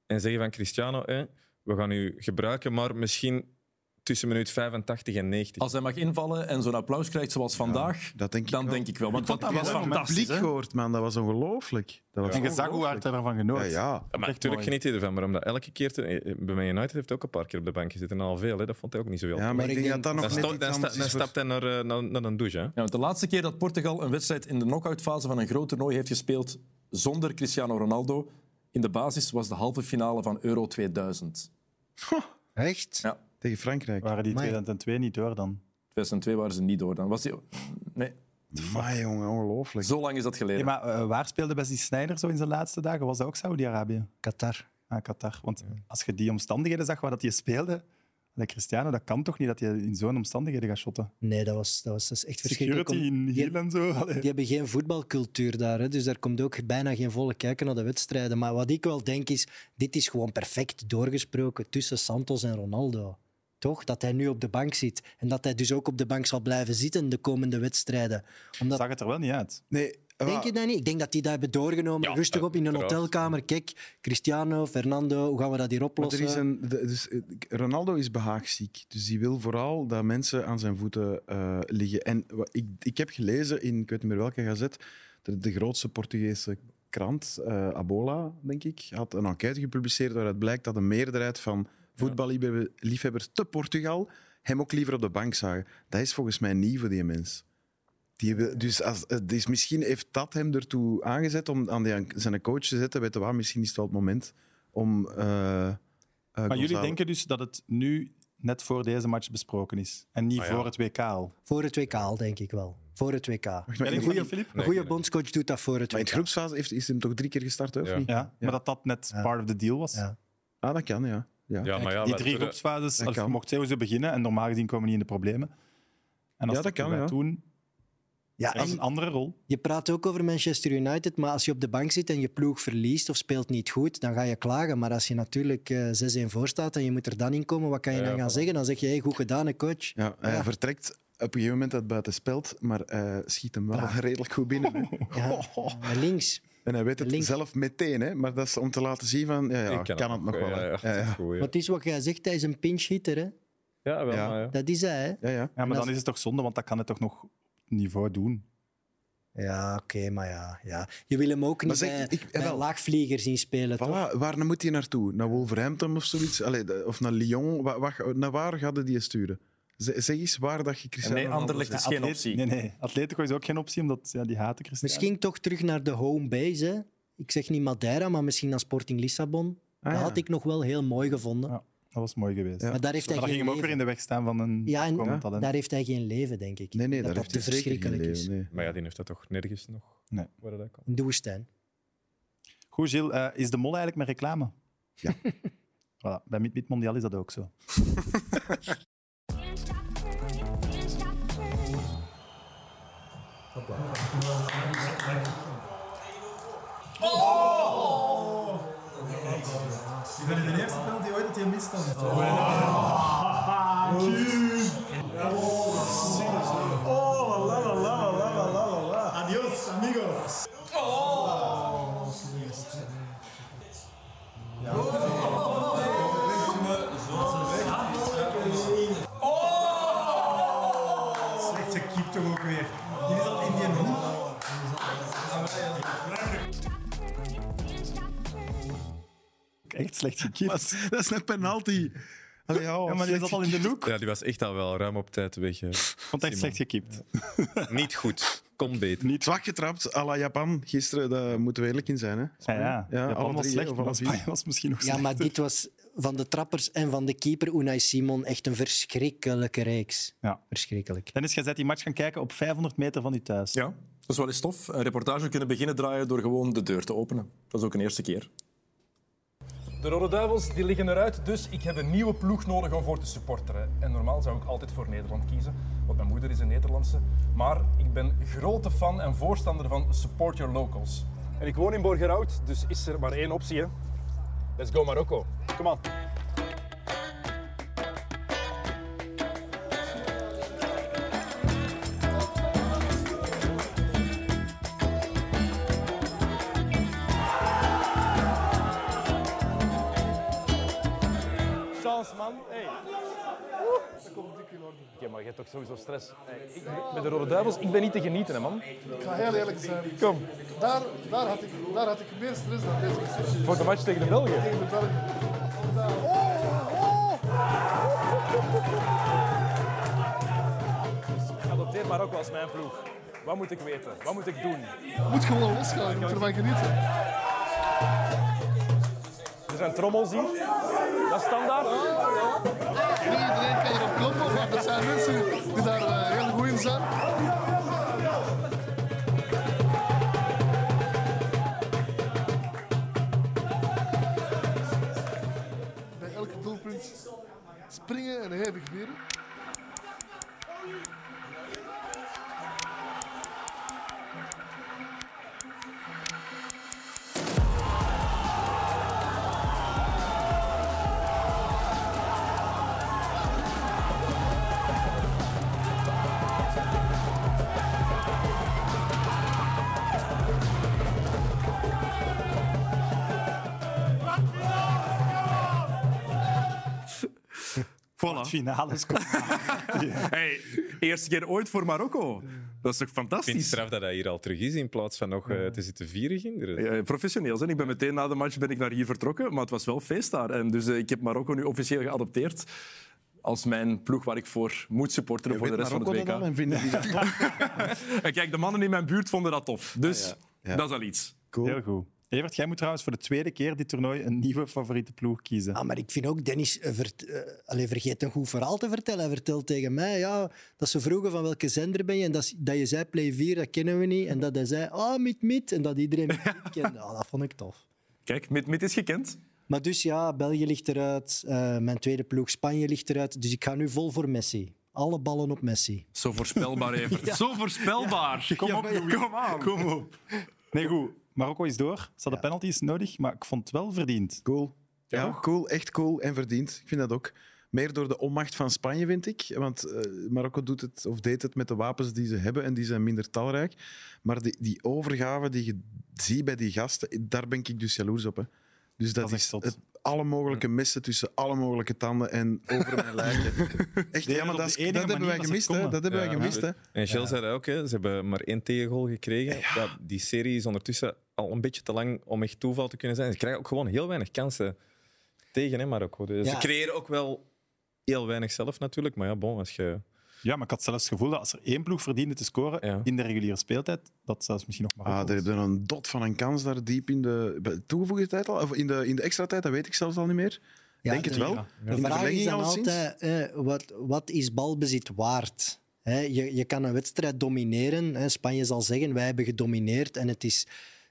en zeggen van Cristiano, hè, we gaan u gebruiken, maar misschien tussen minuut 85 en 90. Als hij mag invallen en zo'n applaus krijgt zoals vandaag, dat denk ik dan wel. denk ik wel. Want dat, Dat was fantastisch. publiek hè? gehoord, man. Dat was ongelooflijk. Dat was En je zag hoe hard hij ervan genoot. Ja, ja. Ja, maar natuurlijk geniet hij ervan, maar omdat elke keer... Te, eh, bij Man United heeft hij ook een paar keer op de bank gezeten en al veel, hè, dat vond hij ook niet zoveel. Ja, maar, ik denk, dat dat nog dan net sto- iets dan sta- anders dan is voor- stapt hij naar, eh, naar, naar een douche, hè. Ja, want de laatste keer dat Portugal een wedstrijd in de knock-outfase van een groot toernooi heeft gespeeld zonder Cristiano Ronaldo in de basis was de halve finale van Euro 2000. Echt? Ja. tegen Frankrijk. Waren die Amai. 2002 niet door dan? 2002 waren ze niet door dan. Was die... Nee, Maar jongen, ongelooflijk. zo lang is dat geleden. Nee, maar eh, waar speelde Wesley Sneijder zo in zijn laatste dagen? Was dat ook Saudi-Arabië? Qatar. Ah, Qatar. Want als je die omstandigheden zag waar dat hij speelde... Allee, Cristiano, dat kan toch niet dat je in zo'n omstandigheden gaat shotten? Nee, dat was, dat was dat is echt verschrikkelijk. Security om- in die, heel en zo. allee. die hebben geen voetbalcultuur daar, hè, dus daar komt ook bijna geen volle kijken naar de wedstrijden. Maar wat ik wel denk is, dit is gewoon perfect doorgesproken tussen Santos en Ronaldo. Toch? Dat hij nu op de bank zit. En dat hij dus ook op de bank zal blijven zitten de komende wedstrijden. Omdat Zag het er wel niet uit. Nee, ah, Denk wa- je dat niet? Ik denk dat die dat hebben doorgenomen. Rustig op in een uiteraard. hotelkamer. Kijk, Cristiano, Fernando, hoe gaan we dat hier maar oplossen? er is een, de- dus, eh, Ronaldo is behaagziek. Dus die wil vooral dat mensen aan zijn voeten eh, liggen. En wa- ik, ik heb gelezen in, ik weet niet meer welke gazet, de, de grootste Portugese krant, eh, Abola, denk ik, had een enquête gepubliceerd waaruit blijkt dat een meerderheid van voetballiefhebbers te Portugal hem ook liever op de bank zagen. Dat is volgens mij niet voor die mens. Die wil- dus, als, eh, dus misschien heeft dat hem ertoe aangezet om aan die, zijn coach te zetten. Weet je wat, misschien is het wel het moment om. eh, eh, Maar jullie Gonzalo- denken dus dat het nu net voor deze match besproken is. En Ah, niet voor het WK al. Voor het WK al, denk ik wel. Voor het WK. Een Maar in, Een maar goede Filip? Nee, goede nee. bondscoach doet dat voor het in WK. het groepsfase heeft, is hem toch drie keer gestart, hè, of Ja. niet? Ja, maar dat dat net Ja. part of the deal was. Ja. Ah, dat kan, ja. ja. Ja, maar ja, die maar- drie groepsfases, dat als je kan. mocht sowieso beginnen en normaal gezien komen we niet in de problemen. En als Ja, dat kan, wij ja. doen, Ja, dat is een en andere rol. je praat ook over Manchester United, maar als je op de bank zit en je ploeg verliest of speelt niet goed, dan ga je klagen. Maar als je natuurlijk eh, 6-1 voor staat en je moet er dan in komen, wat kan je dan gaan zeggen? Dan zeg je, hey, goed gedaan, hè, coach. Ja, hij Ja. vertrekt op een gegeven moment uit buiten spelt, maar eh, schiet hem wel *laughs* redelijk goed binnen. hè. Ja, naar links. En hij weet het Links. zelf meteen, hè? maar dat is om te laten zien van, ja, ja Ik kan, het nog ook, wel. ja, hè. ja, Ja, ja. goed, ja. Maar het is wat jij zegt, hij is een pinch hitter. Hè? Ja, wel, Ja. maar ja. Dat is hij, hè? Ja, ja. Ja, maar als- dan is het toch zonde, want dat kan het toch nog op niveau doen. Ja, oké, maar ja, ja. Je wil hem ook niet zeg, bij, ik- bij wel. laagvlieger zien spelen, toch? Voilà, waar moet hij naartoe? Naar Wolverhampton of zoiets? Allee, de- of naar Lyon? Wa- wa- naar waar gaat hij die sturen? Z- zeg eens waar dat je Cristiano nee, Ronaldo Anderlecht zet. is geen Atlet- optie. Nee, nee. Atletico is ook geen optie, omdat ja, die haten Cristiano. Misschien toch terug naar de home base, hè? Ik zeg niet Madeira, maar misschien naar Sporting Lissabon. Ah, dat ja. had ik nog wel heel mooi gevonden. Ja, Dat was mooi geweest. Ja. Maar daar heeft Maar hij dan geen ging hem ook weer leven. in de weg staan van een Ja, en- komend Ja. talent. Daar heeft hij geen leven, denk ik. Nee, nee, dat daar dat heeft te hij zeker verschrikkelijk geen is. leven, nee. Maar ja, die heeft dat toch nergens nog? Nee. Waar dat komt. Een doelstijn. Goed, Gilles, eh, is de mol eigenlijk met reclame? *laughs* Ja. voilà, bij Meet Meet Mondial is dat ook zo. Ik vind het de eerste penalty ooit dat hij mist dan. Oh, la la la la la la la la la. Adios, amigos. Oh! Slechte keep toch ook weer. Dit is al in die hoek. Echt slecht gekiept. Dat is een *laughs* penalty. Allee, ja, Ja, maar die zat al in de look. Ja, die was echt al wel ruim op tijd weg. hè. Vond echt Simon. slecht gekiept. *laughs* Niet goed. Kom beter. niet zwak getrapt, à la Japan gisteren, daar moeten we eerlijk in zijn. Hè? Ja, ja. Ja, alle Japan was drie, slecht, of alle maar vier. Spanje was misschien nog Ja, slechter. maar dit was van de trappers en van de keeper Unai Simon echt een verschrikkelijke reeks. Ja. Verschrikkelijk. Dennis, jij bent die match gaan kijken op 500 meter van je thuis. Ja, dat is wel eens tof. Een reportage kunnen beginnen draaien door gewoon de deur te openen. Dat is ook een eerste keer. De Rode Duivels die liggen eruit, dus ik heb een nieuwe ploeg nodig om voor te supporteren. En normaal zou ik altijd voor Nederland kiezen, want mijn moeder is een Nederlandse. Maar ik ben grote fan en voorstander van Support Your Locals. En ik woon in Borgerhout, dus is er maar één optie. Hè? Let's go Marokko. Kom aan. chance, man. Hey. Dat komt dik in orde. Oké, maar je hebt toch sowieso stress. Hey, ik, met de Rode Duivels, ik ben niet te genieten, hè, man. Ik ga heel eerlijk zijn. Kom, Daar, daar, had ik, daar had ik meer stress dan deze discussie voor de match tegen de Belgen. tegen de Belgen. Omdat- Oh, oh. Adopteer maar ook als mijn ploeg. Wat moet ik weten? Wat moet ik doen? Moet gewoon losgaan, je moet ervan genieten. Er zijn trommels hier. Dat is standaard. Niet iedereen kan erop kloppen, maar er zijn mensen die daar eh, heel goed in zijn. Bij elk doelpunt springen en hevig vieren. Het finale is Hey, eerste keer ooit voor Marokko. Dat is toch Ik vind het fantastisch? straf dat hij hier al terug is in plaats van nog eh, te zitten vieren ginderen. Eh, professioneel zijn. Ik ben meteen na de match ben ik naar hier vertrokken, maar het was wel feest daar. En dus eh, ik heb Marokko nu officieel geadopteerd als mijn ploeg waar ik voor moet supporteren voor de rest van het WK. en vinden die dat En kijk, de mannen in mijn buurt vonden dat tof. Dus Ja. dat is al iets. Heel goed. Evert, jij moet trouwens voor de tweede keer dit toernooi een nieuwe favoriete ploeg kiezen. Ah, maar ik vind ook, Dennis eh, vert- eh, allee, vergeet een goed verhaal te vertellen. Hij vertelt tegen mij ja, dat ze vroegen van welke zender ben je en dat, ze- dat je zei Play 4, dat kennen we niet. En dat hij zei, ah, mit, mit. En dat iedereen mit, Mit kende. Ah, dat vond ik tof. Kijk, Mid, Mid is gekend. Maar dus ja, België ligt eruit. eh, mijn tweede ploeg, Spanje ligt eruit. Dus ik ga nu vol voor Messi. Alle ballen op Messi. Zo voorspelbaar, *laughs* Evert. Zo voorspelbaar. Kom op, kom aan. Kom op. Nee, goed. Marokko is door. Ze hadden penalties nodig, maar ik vond het wel verdiend. Cool. Ja, cool. Echt cool en verdiend. Ik vind dat ook. Meer door de onmacht van Spanje, vind ik. Want eh, Marokko doet het, of deed het met de wapens die ze hebben en die zijn minder talrijk. Maar die, die overgave die je ziet bij die gasten, daar ben ik dus jaloers op. Hè. Dus dat, Dat is echt is zot. het, alle mogelijke messen tussen alle mogelijke tanden en over mijn *laughs* lijken. Echt, Deden ja, op maar de dat, is- enige dat manier hebben wij dat ze gemist. Hè. konden. Dat hebben wij Ja, gemist. Hè. En Gilles zei dat ook, hè. ze hebben maar één tegengoal gekregen. Dat, die serie is ondertussen al een beetje te lang om echt toeval te kunnen zijn. Ze krijgen ook gewoon heel weinig kansen tegen hè, Marokko. Dus Ja. Ze creëren ook wel heel weinig zelf natuurlijk. Maar ja, bon, als je... Ja, maar ik had zelfs het gevoel dat als er één ploeg verdiende te scoren Ja. in de reguliere speeltijd, dat zelfs misschien nog Marokko Ah, er was. hebben er een dot van een kans daar diep in de bij- toegevoegde tijd al. Of in de, in de extra tijd, dat weet ik zelfs al niet meer. Ja, Denk het de- wel. ja. In De de vraag is verlenging dan alleszins. altijd, eh, wat, wat is balbezit waard? Hè, je, je kan een wedstrijd domineren. hè. Spanje zal zeggen, wij hebben gedomineerd. En het is,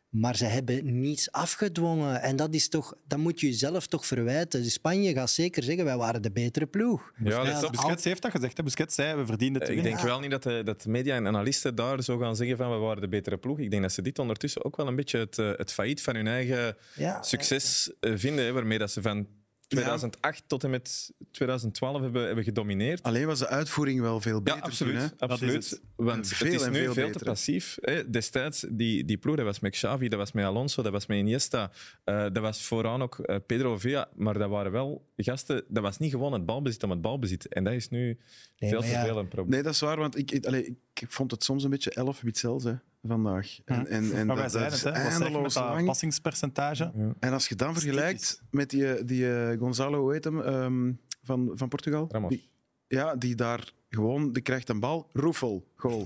maar ze hebben niets afgedwongen. En dat, is toch, dat moet je jezelf toch verwijten. Dus Spanje gaat zeker zeggen, wij waren de betere ploeg. Ja, dat is dat- Busquets heeft dat gezegd. Hè? Busquets zei, we verdienden het. Ik denk wel niet dat de, dat de media en analisten daar zo gaan zeggen van we waren de betere ploeg. Ik denk dat ze dit ondertussen ook wel een beetje het, eh, het failliet van hun eigen Ja, succes eh, vinden. Hè, waarmee dat ze van 2008 tot en met 2012 hebben, hebben gedomineerd. Alleen was de uitvoering wel veel Ja, beter absoluut. toen, hè. absoluut. Dat is het. Want Veel het is en nu veel veel, te beter. passief. Hè. Destijds, die, die ploeg, dat was met Xavi, dat was met Alonso, dat was met Iniesta. eh, dat was vooraan ook eh, Pedro Villa. Maar dat waren wel gasten... Dat was niet gewoon het balbezit om het balbezit. En dat is nu Nee, veel maar te ja. veel een probleem. Nee, dat is waar, want ik, ik, allee, ik vond het soms een beetje 11 wit zelfs hè, vandaag. En, en, en Maar wij dat, dat zeiden is het, hè. Wat zeg je met eindeloos dat lang. passingspercentage? En als je dan vergelijkt met die, die eh Gonzalo, hoe heet hem, ehm, van, van Portugal? Ramos. Die, ja, die daar gewoon, die krijgt een bal, roefel, goal.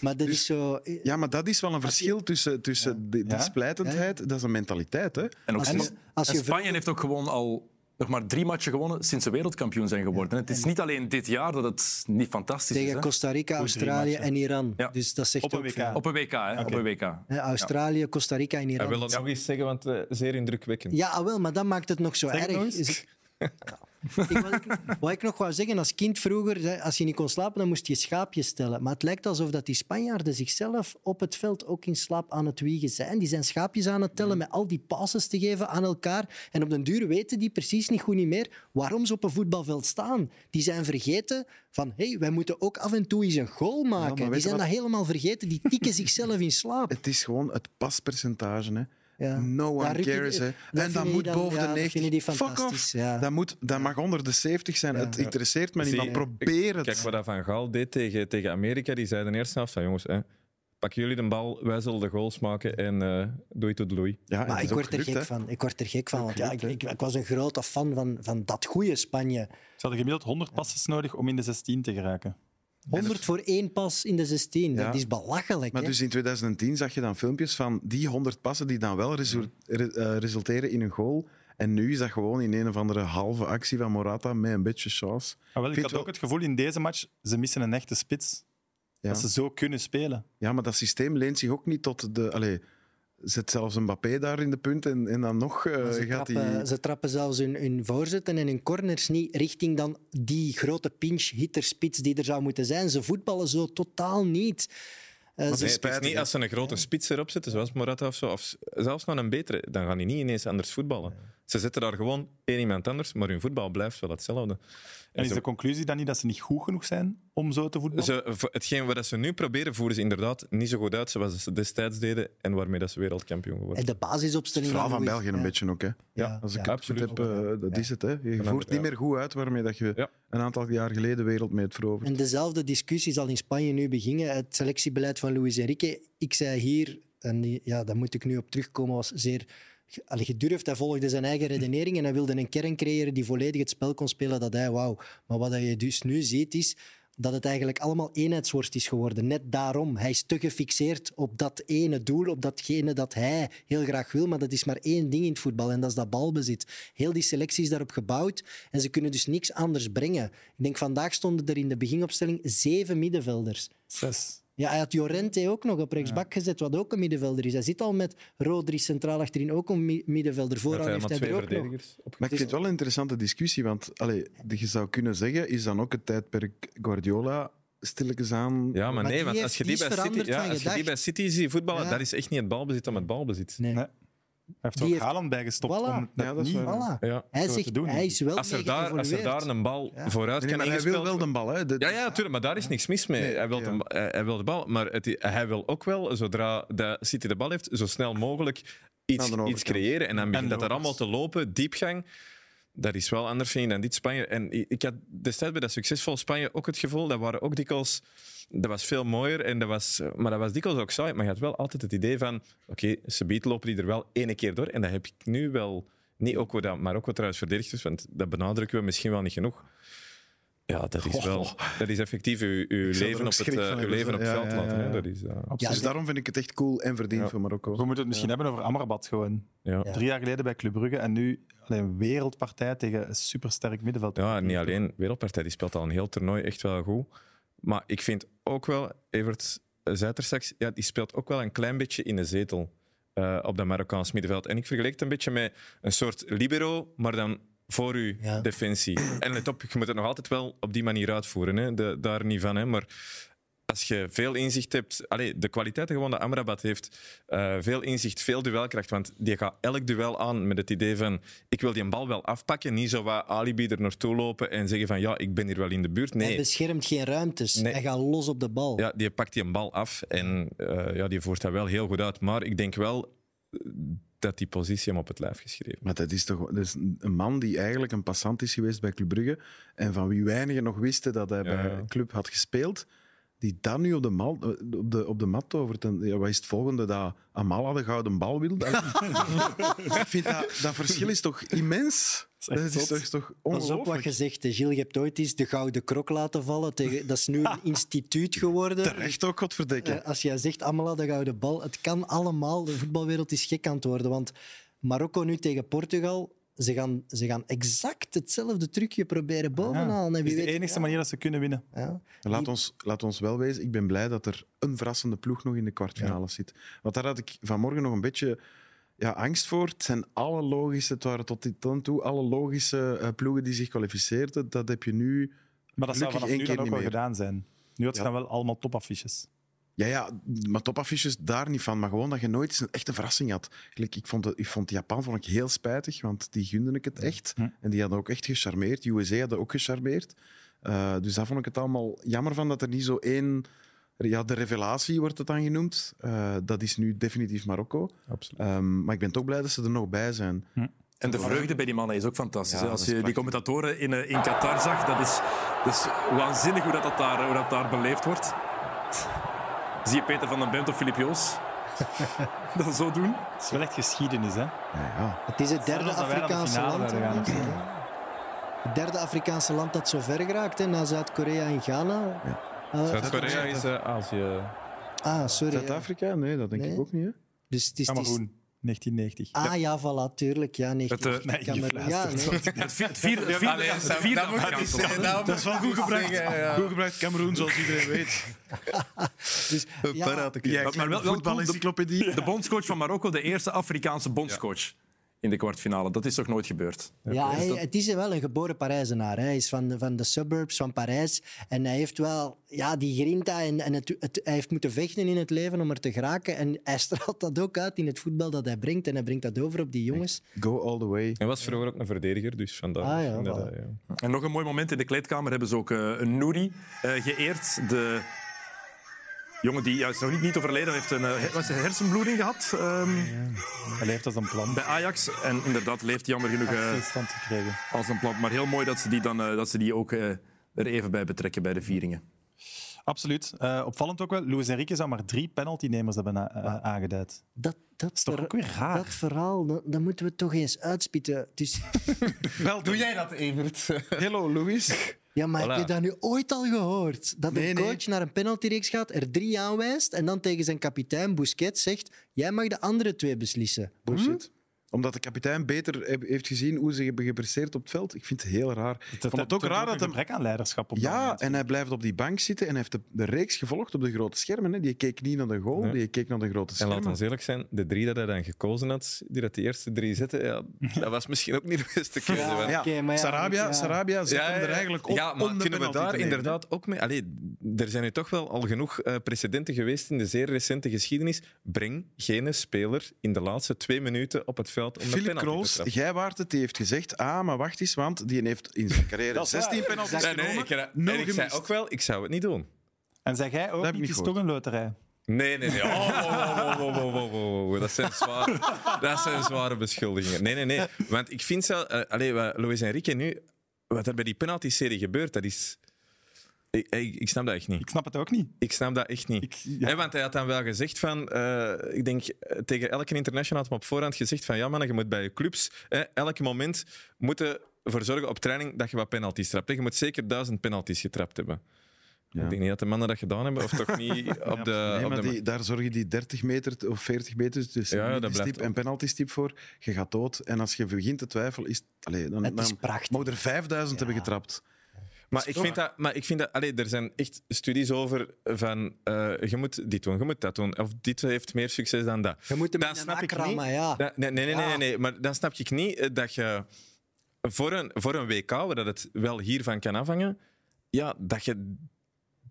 Maar dat is zo... ja, maar dat is wel een verschil tussen, tussen die, die Ja. splijtendheid, dat is een mentaliteit, hè. En ook Als je, als En je Spanje heeft ook gewoon al nog maar drie matchen gewonnen sinds ze wereldkampioen zijn geworden. En het is niet alleen dit jaar dat het niet fantastisch is. tegen hè. Costa Rica, Australië matchen. en Iran. Ja. Dus dat zegt Op een ook WK. veel. Op een WK, hè? Op een WK. Hè, Australië, Costa Rica en Hij Iran. wil dat nog eens zeggen, want eh, zeer indrukwekkend. Ja, ah, wel, maar dat maakt het nog zo het erg. nog eens. Is het- Ja. ik, wat, ik, wat ik nog wou *laughs* zeggen, als kind vroeger, hè, als je niet kon slapen, dan moest je schaapjes stellen. Maar het lijkt alsof dat die Spanjaarden zichzelf op het veld ook in slaap aan het wiegen zijn. Die zijn schaapjes aan het tellen met al die passes te geven aan elkaar. En op den duur weten die precies niet goed niet meer waarom ze op een voetbalveld staan. Die zijn vergeten van, hé, hey, wij moeten ook af en toe eens een goal maken. weet die je zijn wat- dat helemaal vergeten. Die tikken zichzelf in slaap. Het is gewoon het paspercentage. Hè. Ja. No Ja, one Rutte- cares. Hè. dat En vind dat ik moet dan- boven ja, de dat 90. vinden die Fuck off. fantastisch, ja. Dat, moet, dat mag onder de 70 zijn. Het interesseert me niet. Zie, Maar probeer het. Kijk wat dat Van Gaal deed tegen, tegen Amerika. Die zei de eerste helft van jongens, hè, pak jullie de bal, wij zullen de goals maken en eh doei tot doei. Ja, Maar ik word, er gek van. ik word er gek van, want ja, ik, ik, ik was een grote fan van, van dat goede Spanje. Ze hadden gemiddeld 100 passes nodig om in de 16 te geraken. Ah, 100 voor één pas in de 16, Ja. dat is belachelijk. Maar hè. dus in 2010 zag je dan filmpjes van die 100 passen die dan wel resu- re- eh, resulteren in een goal. En nu is dat gewoon in een of andere halve actie van Morata met een beetje chance. Ah, wel, Ik ik vind had wel- ook het gevoel in deze match, ze missen een echte spits. Ja. Dat ze zo kunnen spelen. Ja, maar dat systeem leent zich ook niet tot de. Allee, zet zelfs een Mbappé daar in de punt en, en dan nog eh, Maar ze, gaat trappen, hij. ze trappen zelfs hun, hun voorzetten en hun corners niet richting dan die grote pinch-hitter-spits die er zou moeten zijn. Ze voetballen zo totaal niet. Eh, ze- Nee, het is niet als ze een grote spits erop zetten, zoals Morata of zo, of s- zelfs nog een betere, dan gaan die niet ineens anders voetballen. Ze zetten daar gewoon één iemand anders, maar hun voetbal blijft wel hetzelfde. En En is ze- de conclusie dan niet dat ze niet goed genoeg zijn om zo te voetballen? Ze, voor hetgeen wat ze nu proberen, voeren ze inderdaad niet zo goed uit zoals ze destijds deden en waarmee dat ze wereldkampioen en geworden. de Het basisopstelling verhaal van Louis- België een ja. beetje ook. Hè. Ja, Als ik ja. het goed heb, eh, dat is het. Hè. Je voert ja. niet meer goed uit waarmee dat je Ja. een aantal jaar geleden wereld mee hebt veroverd. En dezelfde discussie zal in Spanje nu beginnen. Het selectiebeleid van Luis Enrique. Ik zei hier, en die- ja, daar moet ik nu op terugkomen, was zeer ge- allee, gedurfd. Hij volgde zijn eigen redenering en hij wilde een kern creëren die volledig het spel kon spelen dat hij wou. Maar wat je dus nu ziet is dat het eigenlijk allemaal eenheidsworst is geworden. Net daarom. Hij is te gefixeerd op dat ene doel, op datgene dat hij heel graag wil. Maar dat is maar één ding in het voetbal en dat is dat balbezit. Heel die selectie is daarop gebouwd en ze kunnen dus niks anders brengen. Ik denk vandaag stonden er in de beginopstelling zeven middenvelders. Zes. Ja, hij had Jorente ook nog op rechtsbak gezet, wat ook een middenvelder is. Hij zit al met Rodri centraal achterin, ook een mi- middenvelder. Dat Vooraan hij heeft maar hij twee er ook nog. verdedigers op. Maar ik Het is- vind het wel een interessante discussie, want allee, je zou kunnen zeggen, is dan ook het tijdperk Guardiola stilletjes aan... Ja, maar, Maar nee, die want heeft- als je die die, is bij City, veranderd ja, van als je die gedacht. bij City ziet voetballen, Ja. dat is echt niet het balbezit om het balbezit. Nee. Nee. Hij heeft er Die ook heeft- Haaland bij gestopt Voilà. om dat Ja, dat is niet... waar. Voilà. Ja. Hij Zo te zegt, doen. hij is wel Als, er mee daar, als er daar geëvolueerd. een bal vooruit Nee, nee, kan maar hij ingespeeld wil wel de bal, hè. De- Ja, ja, natuurlijk, maar daar is niks mis mee. hij, wil de, ba- hij, hij wil de bal, maar het, hij wil ook wel, zodra de City de bal heeft, zo snel mogelijk Naar iets, de overkant. iets creëren. En dan begint dat er Robert. allemaal te lopen, diepgang. Dat is wel anders vind ik, dan dit Spanje. En i- ik had destijds bij dat succesvol Spanje ook het gevoel, dat waren ook dikwijls... Dat was veel mooier, en dat was, maar dat was dikwijls ook saai. Maar je had wel altijd het idee van, oké, ze biedt lopen die er wel ene keer door. En dat heb ik nu wel... Niet ook dat Marokko trouwens verdedigd is, want dat benadrukken we misschien wel niet genoeg. Ja, dat is wel. *laughs* Dat is effectief uw, uw zou er leven ook op het, schrik eh, van uw hebben, leven op zo. Ja, het veld ja, ja, laten. hè. ja. Dat is, eh, Absoluut. Dus Ja, daarom vind ik het echt cool en verdiend voor Marokko. We moeten het misschien hebben over Amrabat gewoon. ja. Drie jaar geleden bij Club Brugge en nu alleen een wereldpartij tegen een supersterk middenveld. ja, en niet alleen Wereldpartij, die speelt al een heel toernooi echt wel goed. Maar ik vind ook wel, Evert eh, zei het er straks, ja, die speelt ook wel een klein beetje in de zetel eh, op dat Marokkaans middenveld. En ik vergelijk het een beetje met een soort libero, maar dan voor uw Ja. defensie. En let op, je moet het nog altijd wel op die manier uitvoeren. Hè. De- daar niet van, hè. maar als je veel inzicht hebt, allee, de kwaliteiten gewoon dat Amrabat heeft, eh, veel inzicht, veel duelkracht, want die gaat elk duel aan met het idee van ik wil die bal wel afpakken, niet zo wat alibi er naartoe lopen en zeggen van ja, ik ben hier wel in de buurt. Hij Nee, beschermt geen ruimtes. Nee. Hij gaat los op de bal. ja, die pakt die bal af en eh, ja, die voert dat wel heel goed uit. Maar ik denk wel eh, dat die positie hem op het lijf geschreven Maar dat is toch dat is een man die eigenlijk een passant is geweest bij Club Brugge en van wie weinigen nog wisten dat hij bij ja. club had gespeeld, die dan nu op de, mal, op de, op de mat tovert. En ja, wat is het volgende? Dat Amala de gouden bal wil? Dat- Ik vind dat, dat verschil is toch immens? echt Dat is, zot. toch, is toch Pas op wat ongelooflijk? je zegt. hè. Gilles, je hebt ooit eens de gouden krok laten vallen. Tegen, dat is *laughs* nu een instituut geworden. Terecht ook, godverdikke. Eh, Als jij zegt, Amala, de gouden bal. Het kan allemaal. De voetbalwereld is gek aan het worden. Want Marokko nu tegen Portugal... Ze gaan, ze gaan exact hetzelfde trucje proberen bovenaan. En Dat wie Ah, is de weet, enige ja, manier dat ze kunnen winnen. ja. Laat ons, laat ons wel wezen, ik ben blij dat er een verrassende ploeg nog in de kwartfinale zit. Want daar had ik vanmorgen nog een beetje ja, angst voor. Het zijn alle logische, het waren tot dit dan toe alle logische eh, ploegen die zich kwalificeerden. Dat heb je nu... Maar dat zou Gelukkig vanaf één nu keer dan ook niet wel meer. gedaan zijn. Nu had ze Ja. dan wel allemaal topaffiches. Ja, ja, maar topaffiches daar niet van. Maar gewoon dat je nooit eens een echte verrassing had. Gelijk, Ik vond, de- ik vond Japan vond ik heel spijtig, want die gunden ik het echt. Hm. En die hadden ook echt gecharmeerd. De USA hadden ook gecharmeerd. Eh, dus daar vond ik het allemaal jammer van dat er niet zo één Ja, de revelatie wordt het dan genoemd. Eh, dat is nu definitief Marokko. Absoluut. Hm. Ehm, maar ik ben toch blij dat ze er nog bij zijn. En de vreugde bij die mannen is ook fantastisch. Ja, hè. dat Als is je die prachtig. commentatoren in, eh, in Qatar zag, dat is, dat is waanzinnig hoe dat, dat daar, hoe dat daar beleefd wordt. Zie je Peter van den Bent of Filip Joos dat zo doen? Het is wel echt geschiedenis, hè? Het is het derde Zelfs Ah, dat wij naar de Afrikaanse finale land. zouden gaan of zo. Het derde Afrikaanse land dat zo ver geraakt, hè, na Zuid-Korea en Ghana. Eh, Zuid-Korea is eh, Azië. Ah, sorry. ja. Zuid-Afrika? Nee, dat denk Nee. ik ook niet. Hè? Dus het is, het is- Cameroen, 1990. Ah ja, voilà, tuurlijk. Ja, nee, Het, eh, ik- ik nee, kan je me- ja, fluistert. nee. Het vier, het vier, het vier, Allee, het Sam, vier- dat moet je niet zeggen, dat Dat is wel goed gebracht. zeggen, ja. Goed gebracht, Cameroen, zoals iedereen weet. Dus, ja, Jij Maar wel- klinkt wel een voetbalencyclopedie. De bondscoach van Marokko, de eerste Afrikaanse bondscoach in de kwartfinale. Dat is toch nooit gebeurd? Ja, hij, het is wel een geboren Parijzenaar. Hij is van, de- van de suburbs van Parijs. En hij heeft wel ja, die grinta en, en het, het- hij heeft moeten vechten in het leven om er te geraken. En hij straalt dat ook uit in het voetbal dat hij brengt. En hij brengt dat over op die jongens. Go all the way. Hij was vroeger ook een verdediger, dus vandaar. Ah, ja, Ik denk dat voilà. hij, ja. En nog een mooi moment in de kleedkamer hebben ze ook eh, een Nouri eh, geëerd. De jongen die juist nog niet, niet overleden heeft een, eh, her- was het een hersenbloeding gehad ehm, Hij heeft als een plan. bij Ajax. En inderdaad leeft jammer genoeg eh, Stilstand te krijgen. als een plant. Maar heel mooi dat ze die, dan, eh, dat ze die ook eh, er even bij betrekken bij de vieringen. Absoluut. Eh, opvallend ook wel, Luis Enrique zou maar drie penaltynemers hebben a- a- aangeduid. Dat, dat, is toch ver- ook weer Ah. raar? dat verhaal, dat, dat moeten we toch eens uitspitten. Dus, Doe jij dat, Evert? Hello, *laughs* Louis. ja, maar heb Voilà. je dat nu ooit al gehoord? Dat Nee, een nee. coach naar een penaltyreeks gaat, er drie aanwijst en dan tegen zijn kapitein Busquets zegt jij mag de andere twee beslissen. Bullshit. omdat de kapitein beter heb- heeft gezien hoe ze hebben gepresseerd op het veld. Ik vind het heel raar. Ik vond het ook raar dat een hem... gebrek aan leiderschap op dat Ja, moment. en hij blijft op die bank zitten en hij heeft de, de reeks gevolgd op de grote schermen. Hè. Die keek niet naar de goal, Nee. die keek naar de grote En schermen. laat ons eerlijk zijn, de drie dat hij dan gekozen had, die dat de eerste drie zette, *laughs* ja, dat was misschien ook niet de beste keuze. want- Ja, Oké, maar ja, Sarabia, ja. Sarabia zet Ja, ja, hem er ja. eigenlijk op Ja, maar om de kunnen we penalty daar te nemen, inderdaad ook mee... Allee, er zijn nu toch wel al genoeg eh, precedenten geweest in de zeer recente geschiedenis. Breng geen speler in de laatste twee minuten op het veld om een Philip penalty te Kroos, trappen. jij waart het, die heeft gezegd, ah, maar wacht eens, want die heeft in zijn carrière 16 penalties Nee, nee, genomen. ik, en nul ik zei gemist. ook wel, ik zou het niet doen. En zeg jij ook heb niet, ik het niet is gehoord. toch een loterij. Nee, nee, nee. Oh, wow, wow, wow, wow, wow, wow, wow. Dat, zijn zware, dat zijn zware beschuldigingen. Nee, nee, nee. Want ik vind zo... eh, allee, wat Luis Enrique nu... Wat er bij die penalty-serie gebeurt, dat is... Ik, ik, ik snap dat echt niet. Ik snap het ook niet. Ik snap dat echt niet. Ik, ja. Hè, want hij had dan wel gezegd van... eh, ik denk, eh, tegen elke international had hem op voorhand gezegd van... Ja, man, je moet bij je clubs hè, elk moment moeten ervoor zorgen op training dat je wat penalties trapt. hè. Je moet zeker duizend penalties getrapt hebben. Ik denk niet dat de mannen dat gedaan hebben, of toch *laughs* niet op de... Nee, op maar de die, daar zorgen die 30 meter t- of 40 meter tussen Ja, ja, dat ja, blijft stip en penaltystip voor. Je gaat dood. En als je begint te twijfelen, is het- allee, dan, Het is dan prachtig. mogen er 5000 hebben getrapt. Maar ik vind dat, maar ik vind dat allee, er zijn echt studies over van eh, je moet dit doen, je moet dat doen. Of dit heeft meer succes dan dat. Je moet hem Dat in een snap hak ik niet. rammen, ja. Dat- nee, nee, nee, nee, Ja. nee, nee, maar dan snap ik niet eh, dat je voor een, voor een WK, waar dat het wel hiervan kan afhangen, ja, dat je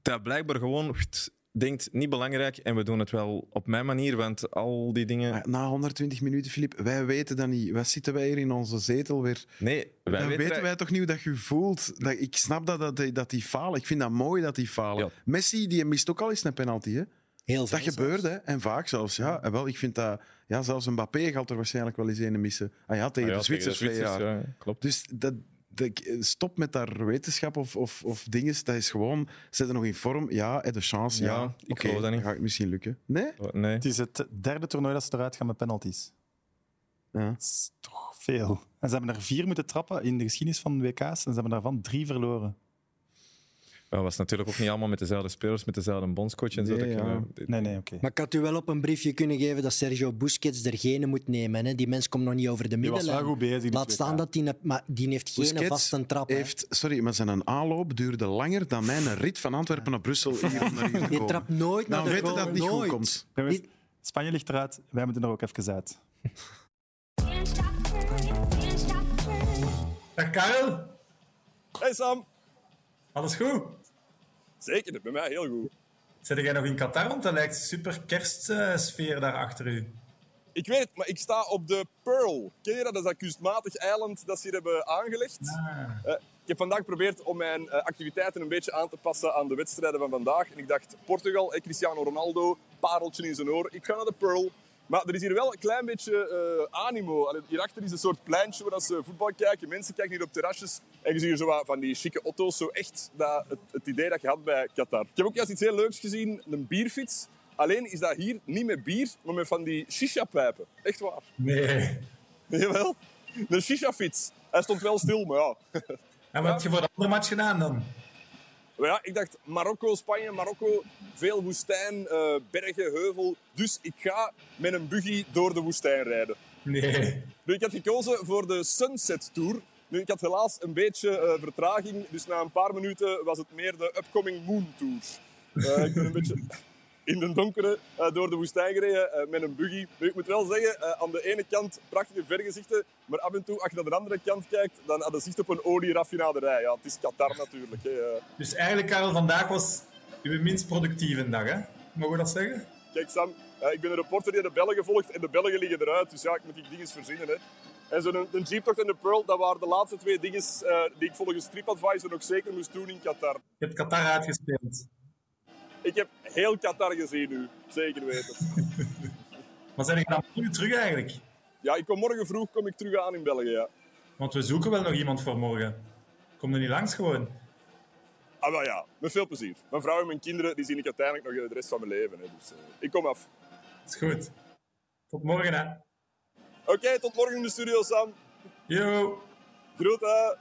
dat blijkbaar gewoon pst, denkt, niet belangrijk en we doen het wel op mijn manier, want al die dingen... Maar Na 120 minuten, Filip, wij weten dat niet. Wij zitten wij hier in onze zetel weer. Nee, wij dan weten... weten wij toch niet hoe dat je voelt. Dat, ik snap dat, dat, die- dat die falen. Ik vind dat mooi dat die falen. Ja. Messi die mist ook al eens een penalty. Hè? Heel veel Dat gebeurt, hè? En vaak zelfs. Ja, En wel, ik vind dat. Ja, zelfs een Mbappé gaat er waarschijnlijk wel eens een missen. Ah ja, tegen Ah ja, de Zwitsers tegen twee de jaar. Zwitsers, ja, klopt. Dus dat, dat- eh, stop met daar wetenschap of, of, of dingen. Dat is gewoon, zit er nog in vorm? Ja, heb de chance? Ja, Ja, ik Oké, geloof dat niet. Gaat het misschien lukken? Nee? Oh, Nee. Het is het derde toernooi dat ze eruit gaan met penalties. Ja. Dat is toch veel. En ze hebben er vier moeten trappen in de geschiedenis van WK's en ze hebben daarvan drie verloren. Dat was natuurlijk ook niet allemaal met dezelfde spelers, met dezelfde bondscoach en zo. Nee, Dat kan, ja. eh, Nee, nee, oké. Maar ik had u wel op een briefje kunnen geven dat Sergio Busquets er geen moet nemen. Hè? Die mens komt nog niet over de Die was wel middenlijn. goed bezig. dit Laat WK. staan dat die, ne- maar die heeft geen Busquets vaste trap. hè. Heeft, sorry, maar zijn aanloop duurde langer dan mijn rit van Antwerpen naar Brussel. Hier om naar *laughs* hier te Die komen. trapt nooit naar Nou, de we weten goal, dat het niet goed nooit. *laughs* komt. Jongens, Spanje ligt eruit, wij moeten er ook even uit. Dag Karel. Hey Sam, Alles goed? zeker, bij mij heel goed. Zit jij nog in Qatar? Want dat lijkt super kerstsfeer daar achter u. Ik weet het, maar ik sta op de Pearl. Ken je dat? Dat is dat kunstmatig eiland dat ze hier hebben aangelegd. Eh, ik heb vandaag geprobeerd om mijn eh, activiteiten een beetje aan te passen aan de wedstrijden van vandaag. En ik dacht, Portugal, eh, Cristiano Ronaldo, pareltje in zijn oor. Ik ga naar de Pearl. Maar er is hier wel een klein beetje eh, animo. Allee, hierachter is een soort pleintje waar dat ze voetbal kijken. Mensen kijken hier op terrasjes. En je ziet hier zo wat van die chique auto's. Zo echt dat, het, het idee dat je had bij Qatar. Ik heb ook juist iets heel leuks gezien. Een bierfiets. Alleen is dat hier niet met bier, maar met van die shisha-pijpen. Echt waar. Nee. *laughs* Jawel. Een shisha-fiets. Hij stond wel stil, maar ja. En wat heb je voor de andere match gedaan dan? Maar ja, ik dacht Marokko, Spanje, Marokko, veel woestijn, eh, bergen, heuvel. Dus ik ga met een buggy door de woestijn rijden. Nee. Nu, ik had gekozen voor de Sunset Tour. Nu, ik had helaas een beetje eh, vertraging, dus na een paar minuten was het meer de Upcoming Moon Tour. Eh, ik ben een beetje in de donkere eh, door de woestijn gereden eh, met een buggy. Nu, ik moet wel zeggen, eh, aan de ene kant prachtige vergezichten, maar af en toe, als je naar de andere kant kijkt, dan had je zicht op een olieraffinaderij. Ja, het is Qatar natuurlijk. Hè. eh. Dus eigenlijk, Karel, vandaag was uw minst productieve dag, hè? Mogen we dat zeggen? Kijk Sam, eh, ik ben een reporter die de Belgen volgt en de Belgen liggen eruit, dus ja, ik moet die dingen verzinnen. Hè. En zo'n een jeeptocht en de Pearl, dat waren de laatste twee dingen eh, die ik volgens TripAdvisor nog zeker moest doen in Qatar. Je hebt Qatar uitgespeeld. Ik heb heel Qatar gezien nu, zeker weten. Maar zijn er dan nu terug eigenlijk? Ja, ik kom morgen vroeg kom ik terug aan in België, ja. Want we zoeken wel nog iemand voor morgen. Kom er niet langs gewoon. Ah, wel ja, met veel plezier. Mijn vrouw en mijn kinderen, die zie ik uiteindelijk nog eh, de rest van mijn leven. Hè. Dus eh, ik kom af. Is goed. Tot morgen, hè. Oké, tot morgen in de studio, Sam. Yo. Groeten.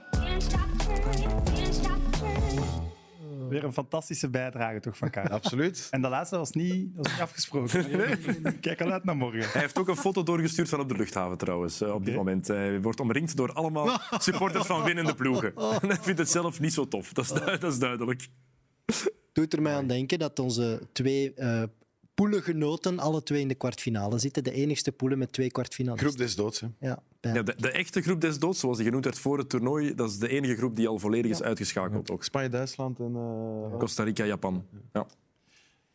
Weer een fantastische bijdrage toch *laughs* van Karel. Absoluut. En de laatste was niet, was niet afgesproken. Kijk al uit naar morgen. Hij heeft ook een foto doorgestuurd van op de luchthaven trouwens, eh, op dit moment. Hij wordt omringd door allemaal supporters van winnende ploegen. En hij vindt het zelf niet zo tof, dat Oh. is, du- dat is duidelijk. doet er mij aan denken dat onze twee eh poelengenoten alle twee in de kwartfinale zitten. De enigste poelen met twee kwartfinales. Groep des doods, hè. Ja, Ja, de, de echte groep des doods, zoals die genoemd werd voor het toernooi, dat is de enige groep die al volledig is uitgeschakeld. Ook Spanje, Duitsland en... eh, Costa Rica, Japan. Ja.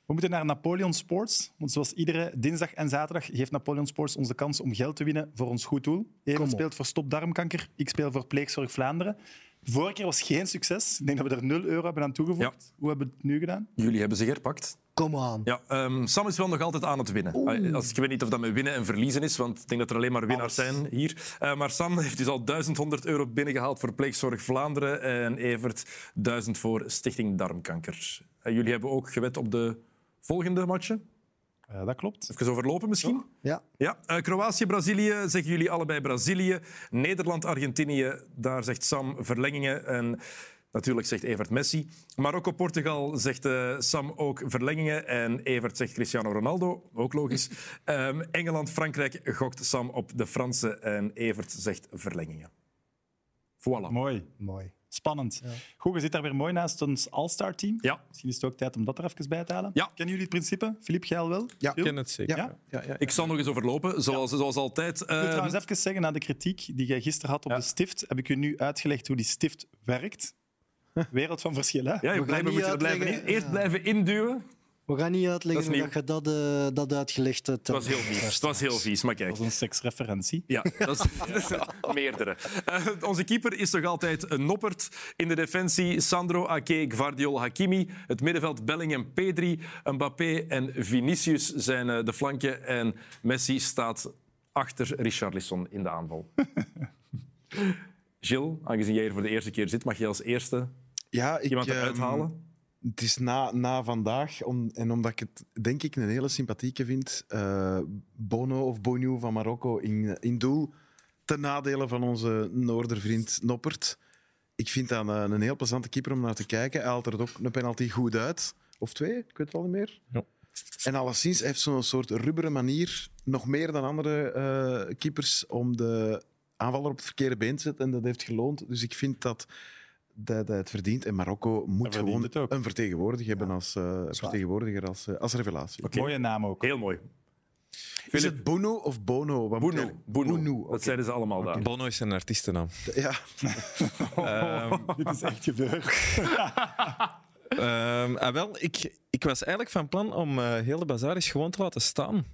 We moeten naar Napoleon Sports. Want zoals iedere dinsdag en zaterdag geeft Napoleon Sports ons de kans om geld te winnen voor ons goed doel. Evan speelt voor Stop Darmkanker, ik speel voor Pleegzorg Vlaanderen. Vorige keer was geen succes. Ik denk dat we er 0 euro hebben aan toegevoegd. Hoe hebben we het nu gedaan? Jullie hebben ze herpakt. Kom aan. Ja, ehm, Sam is wel nog altijd aan het winnen. Ah, Als, ik weet niet of dat met winnen en verliezen is, want ik denk dat er alleen maar winnaars zijn hier. Eh, maar Sam heeft dus al 1100 euro binnengehaald voor Pleegzorg Vlaanderen en Evert 1000 voor Stichting Darmkanker. Eh, jullie hebben ook gewet op de volgende matchen? Eh, dat klopt. Even overlopen misschien? Ja. Ja, eh, Kroatië, Brazilië, zeggen jullie allebei Brazilië. Nederland, Argentinië, daar zegt Sam verlengingen. En natuurlijk zegt Evert Messi. Marokko, Portugal, zegt eh, Sam ook verlengingen. En Evert zegt Cristiano Ronaldo, ook logisch. Ehm, Engeland, Frankrijk, gokt Sam op de Fransen. En Evert zegt verlengingen. Voilà. Mooi. Mooi. Spannend. Goed, je zit daar weer mooi naast ons All-Star team. Ja. Misschien is het ook tijd om dat er even bij te halen. Kennen jullie het principe? Filip, jij al wel? Ja, Ik ken het zeker. Ja? Ik zal nog eens overlopen, zoals, zoals altijd. Ik wil Ehm, trouwens even zeggen, na de kritiek die jij gisteren had op de stift, heb ik u nu uitgelegd hoe die stift *laughs* werkt. Wereld van verschillen. ja, je blijven, moet je er blijven in, eerst blijven induwen. We gaan niet Dat uitleggen is hoe nieuw. dat je dat, eh, dat uitgelegd hebt. Het was heel vies. Het was heel vies, maar kijk. Dat is een seksreferentie. Ja, dat is *laughs* meerdere. Eh, onze keeper is toch altijd een noppert. In de defensie Sandro, Ake, Gvardiol, Hakimi. Het middenveld Bellingham, Pedri, Mbappé en Vinicius zijn eh, de flanken. En Messi staat achter Richarlison in de aanval. *laughs* Gilles, aangezien jij hier voor de eerste keer zit, mag je als eerste Ja, ik, iemand ehm, eruit halen? Het is na, na vandaag, om, en omdat ik het denk ik een hele sympathieke vind, eh, Bono of Bonio van Marokko in, in doel, ten nadele van onze Noordervriend Noppert. Ik vind dat een, een heel plezante keeper om naar te kijken. Hij haalt er ook een penalty goed uit. Of twee, ik weet het al niet meer. En alleszins hij heeft zo'n soort rubberen manier, nog meer dan andere eh, keepers, om de aanvaller op het verkeerde been te zetten. En dat heeft geloond. Dus ik vind dat, dat hij het verdient. En Marokko moet gewoon een vertegenwoordiger hebben als, eh, vertegenwoordiger als, eh, als revelatie. Mooie naam ook. Heel mooi. Is het Bono of Bono? Wat moet hij- oké. Dat zeiden ze allemaal daar. Bono is een artiestennaam. Ja. dit is echt gebeurd. Ehm, ah, wel, ik, ik was eigenlijk van plan om eh heel de bazaar eens gewoon te laten staan.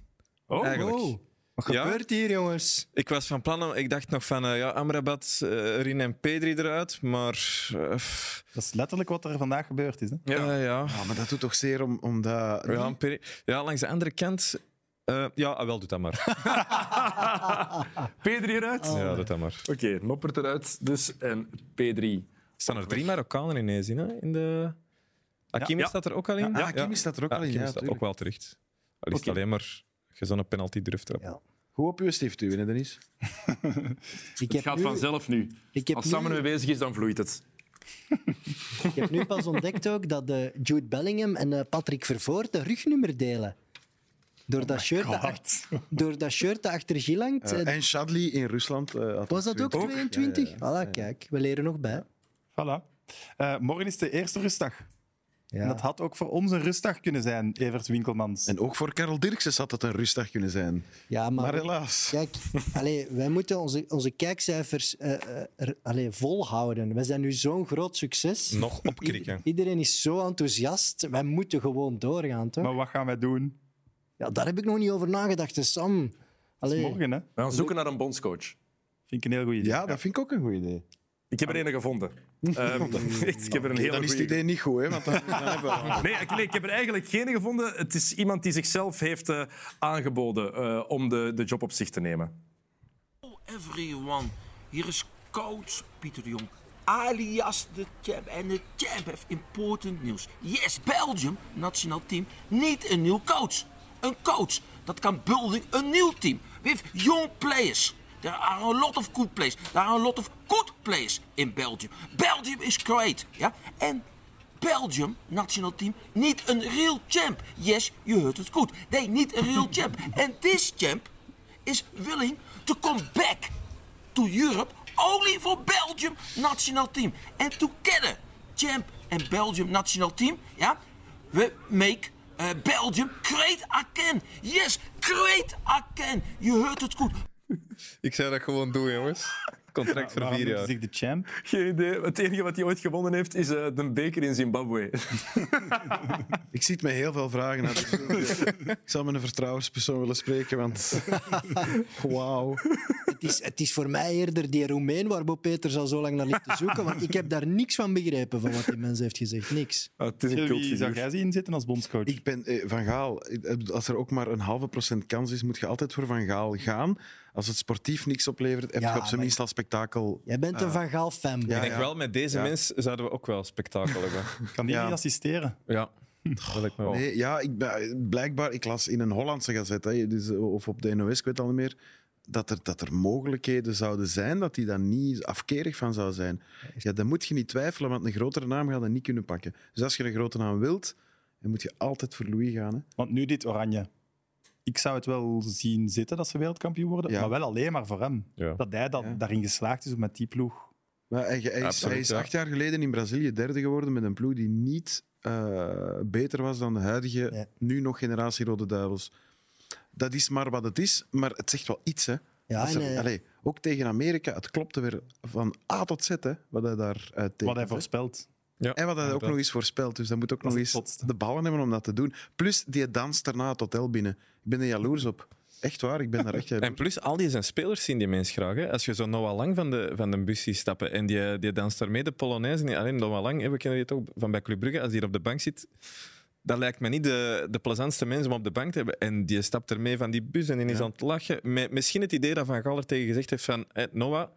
Oh, eigenlijk. wow. Wat gebeurt hier, jongens? Ik was van plan, om- ik dacht nog van eh, ja, Amrabat, eh, Erin en Pedri eruit, maar. eh, dat is letterlijk wat er vandaag gebeurd is. Hè? Ja, ja. Ah, maar dat doet toch zeer om, om dat... Ja, Pedri- ja, langs de andere kant. eh, ja, ah, wel, doet dat maar. Pedri eruit? Ja, doet dat maar. Oh. Oké, Noppert eruit dus en P3. Staan er drie Marokkanen ineens in, hè? In de... Hakimi Ja. staat er ook al in. Ah, Hakimi staat er ook al in, Hakimi ja, staat ook tuurlijk. wel terecht. Al is het Oké. alleen maar gezonde penalty durft trappen. Hoe op uw stift duwen, hè, Dennis? Ik het gaat vanzelf nu. ik heb Als Sam nu- ermee bezig is, dan vloeit het. Ik heb nu pas ontdekt ook dat de Jude Bellingham en eh, Patrick Vervoort de rugnummer delen. Door, dat, shirt dat, acht- door dat shirt dat achter Gilles hangt. Oh Eh, eh, en Shadley in Rusland. eh, had was dat ook 22? Ja, Voilà, kijk, we leren nog bij. Voilà. Eh, morgen is de eerste rustdag. En dat had ook voor ons een rustdag kunnen zijn, Evert Winkelmans. En ook voor Karel Dirksen had dat een rustdag kunnen zijn. Ja, maar, Maar helaas. Kijk, allee, wij moeten onze, onze kijkcijfers eh, eh, er- allee, volhouden. We zijn nu zo'n groot succes. Nog *laughs* opkrikken. Iedereen is zo enthousiast. Wij moeten gewoon doorgaan, toch? Maar wat gaan wij doen? Ja, daar heb ik nog niet over nagedacht, hè, Sam. Dat is Allee. morgen, hè? We gaan zoeken naar een bondscoach. Vind ik een heel goed idee. Ja, dat vind ik ook een goed idee. Ik Ah. heb er een *laughs* gevonden. Ehm, echt, ik heb er een Oké, hele dan is het goeie idee niet goed, hè? Want *laughs* dan, dan hebben we al- Nee, ik, nee, ik heb er eigenlijk geen gevonden. Het is iemand die zichzelf heeft eh, aangeboden eh, om de, de job op zich te nemen. Oh, everyone. Hier is coach Pieter de Jong. Alias de champ. En de champ heeft important nieuws. Yes, Belgium, nationaal team, niet een nieuw coach. Een coach, dat kan building een nieuw team. With young players. There are a lot of good players. There are a lot of good players in Belgium. Belgium is great. Ja? En Belgium, nationaal team, niet een real champ. Yes, je hoort het goed. Nee, niet een real champ. En this champ is willing to come back to Europe only for Belgium national team. And together, champ and Belgium national team, ja, we make eh, Belgium great again. Yes, great again. Je hoort het goed. Ik zou dat gewoon doen, jongens. Contract voor Waarom vier noemt jaar. hij zich de champ? Geen idee. Het enige wat hij ooit gewonnen heeft, is eh, de beker in Zimbabwe. Ik zit met heel veel vragen naar. dus ik zou met een vertrouwenspersoon willen spreken, *laughs* want... Wauw. Het is, het is voor mij eerder die Roemeen waar Bob Peters al zo lang naar *laughs* ligt te zoeken, want ik heb daar niks van begrepen van wat die mens heeft gezegd. Niks. het is Wie zou jij zien zitten als bondscoach? Ik ben eh, Van Gaal. Ik- eh, Als er ook maar een halve procent kans is, moet je altijd voor Van Gaal gaan. Als het sportief niks oplevert, heb Ja, je op zijn maar- minst al spektakel. Jij bent een Ah. Van Gaal fan. Ja, ik denk ja. wel, met deze Ja. mens zouden we ook wel spektakel *laughs* hebben. Kan die Ja. niet assisteren? Ja, dat wil ik me wel. Nee, ja, ik, ben- blijkbaar, ik las in een Hollandse gazet, hè, dus, of op de NOS, ik weet al niet meer, dat er, dat er mogelijkheden zouden zijn dat hij daar niet afkerig van zou zijn. Ja, dan moet je niet twijfelen, want een grotere naam gaat dat niet kunnen pakken. Dus als je een grote naam wilt, dan moet je altijd voor Louis gaan. Hè. Want nu dit oranje. Ik zou het wel zien zitten dat ze wereldkampioen worden, Ja. maar wel alleen maar voor hem. Ja. Dat hij dat, daarin geslaagd is om met die ploeg. Maar hij, hij is, Absoluut, hij is ja. acht jaar geleden in Brazilië derde geworden met een ploeg die niet eh, beter was dan de huidige, Nee. nu nog generatie Rode Duivels. Dat is maar wat het is, maar het zegt wel iets. Hè. Ja, Dat ze- en, eh, allee, ook tegen Amerika, het klopte weer van A tot Z hè, wat hij daar eh, tekent, Wat hij hè. voorspelt. Ja, En wat hij ook inderdaad. nog eens voorspelt. Dus dat moet ook Dat nog is eens het zotste. de ballen hebben om dat te doen. Plus, die danst daarna het hotel binnen. Ik ben er jaloers op. Echt waar, ik ben daar echt *laughs* jaloers En plus, al die zijn spelers zien die mensen graag. Hè. Als je zo Noah Lang van de, van de bus ziet stappen en die, die danst daarmee de Polonaise. Niet alleen Noah Lang, hè, we kennen die toch van bij Club Brugge. Als die hier op de bank zit, dat lijkt me niet de, de plezantste mens om op de bank te hebben. En die stapt ermee van die bus en die is aan het lachen. Met misschien het idee dat Van Gaal er tegen gezegd heeft van "Hé, Noah,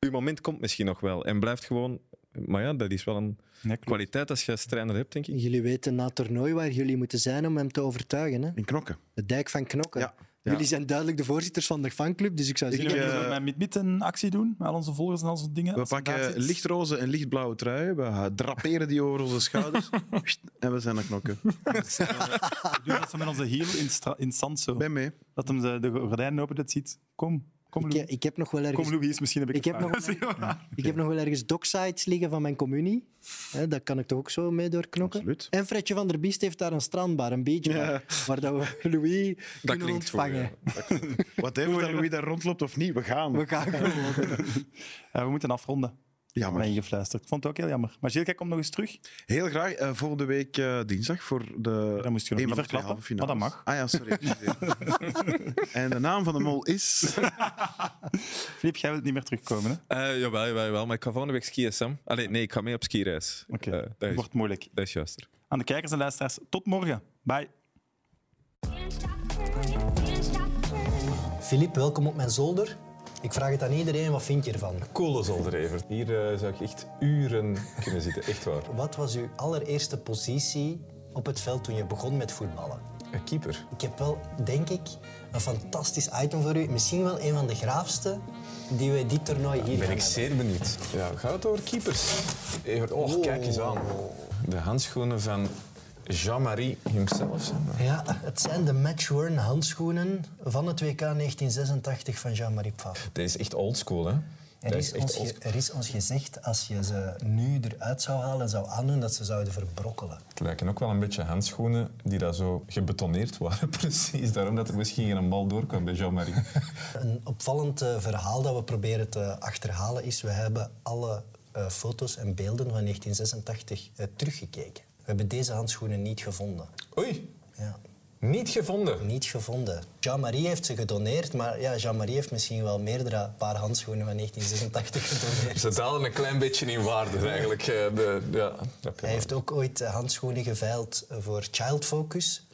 uw moment komt misschien nog wel. En blijft gewoon... Maar ja, dat is wel een Ja, klopt. kwaliteit als je als trainer hebt, denk ik. Jullie weten na het toernooi waar jullie moeten zijn om hem te overtuigen. Hè? in knokken. De dijk van knokken. Ja. Jullie zijn duidelijk de voorzitters van de fanclub, dus ik zou Ik, zeggen... eh, Zullen we met mid een actie doen? Met al onze volgers en al onze dingen? We Als je daar pakken zit? lichtroze en lichtblauwe truien. We draperen die over onze schouders. *laughs* en we zijn aan knokken. We *laughs* doen dat ze met onze heel in, stra- in het zand zo. Ben mee. Dat hem de, de gordijnen opent, dat ziet. Kom, kom Ik, Louis. ik heb nog wel ergens... Kom Louis, misschien heb ik, Ik heb, nog wel, ik heb nog wel ergens docsites liggen van mijn communie. Hè, dat kan ik toch ook zo mee doorknokken. Absoluut. En Fredje van der Biest heeft daar een strandbar, een beachbar, waar dat we Louis Dat kunnen klinkt goed. ontvangen. ja. Wat even dat Louis daar rondloopt of niet, we gaan. We gaan gewoon. Ja, we moeten afronden. Jammer. mij gefluisterd. Ik vond het ook heel jammer. Maar Gilles, jij komt nog eens terug. Heel graag. eh, volgende week eh, dinsdag voor de. Dat moest je nog niet verklappen, maar dat mag. Ah ja, sorry. *laughs* excuseer. en de naam van de mol is. Filip, jij wilt niet meer terugkomen, hè? Eh, jawel, jawel, jawel, maar ik ga volgende week skiën, Sam. Allee, nee, ik ga mee op skireis. Eh, Oké, dat wordt moeilijk. Dat is juister. Aan de kijkers en luisteraars, tot morgen. Bye. Filip, welkom op mijn zolder. Ik vraag het aan iedereen, wat vind je ervan? Coole zolder, Evert. Hier eh, zou ik echt uren kunnen zitten, echt waar. Wat was uw allereerste positie op het veld toen je begon met voetballen? Een keeper. Ik heb wel, denk ik, een fantastisch item voor u. Misschien wel een van de graafste die we dit toernooi hier Ben gaan ik zeer benieuwd. Ja, gaat het over keepers? Evert, oh, kijk eens aan. De handschoenen van Jean-Marie himself. zeg maar. hebben. Ja, het zijn de match-worn handschoenen van het WK 1986 van Jean-Marie Pfaff. Dit is echt oldschool, hè? Er Dat is, ons ge- er is ons gezegd, als je ze nu eruit zou halen en zou aandoen, dat ze zouden verbrokkelen. Het lijken ook wel een beetje handschoenen die daar zo gebetoneerd waren, *laughs* precies. Daarom dat er misschien geen bal doorkwam bij Jean-Marie. Een opvallend eh, verhaal dat we proberen te achterhalen is... we hebben alle eh, foto's en beelden van 1986 eh, teruggekeken. We hebben deze handschoenen niet gevonden. Oei. Ja. Niet gevonden? Niet gevonden. Jean-Marie heeft ze gedoneerd, maar ja, Jean-Marie heeft misschien wel meerdere paar handschoenen van 1986 *laughs* gedoneerd. Ze dalen een klein beetje in waarde eigenlijk. eh, De, ja. Hij heeft ook ooit eh, handschoenen geveild eh, voor Child Focus.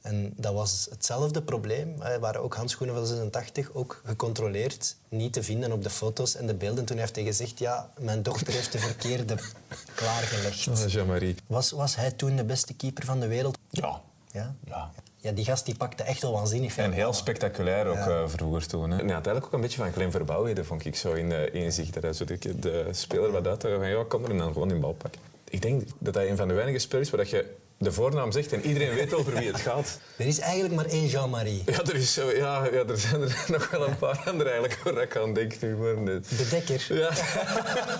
En dat was hetzelfde probleem. Eh, Er waren ook handschoenen van 86, ook gecontroleerd. Niet te vinden op de foto's en de beelden. Toen heeft hij gezegd, ja, mijn dochter heeft de verkeerde *laughs* klaargelegd. Ah, Jean-Marie. Was, was hij toen de beste keeper van de wereld? Ja. Ja? Ja. die gast die pakte echt wel waanzinnig veel. En heel spectaculair ook Ja. eh, vroeger toen. Hè. Ja, uiteindelijk ook een beetje van Clem Verbouwheden vond ik zo in eh, inzicht. Dat hij zo de, de speler wat uit van ja, kom er en dan gewoon die bal pakken. Ik denk dat hij een van de weinige spelers waar dat je de voornaam zegt en iedereen weet over wie het gaat. Er is eigenlijk maar één Jean-Marie. *laughs* Ja, er, is zo, ja, ja, er zijn er *laughs* nog wel een paar andere eigenlijk waar ik aan denk nu. Maar net. De dekker. Ja. *laughs*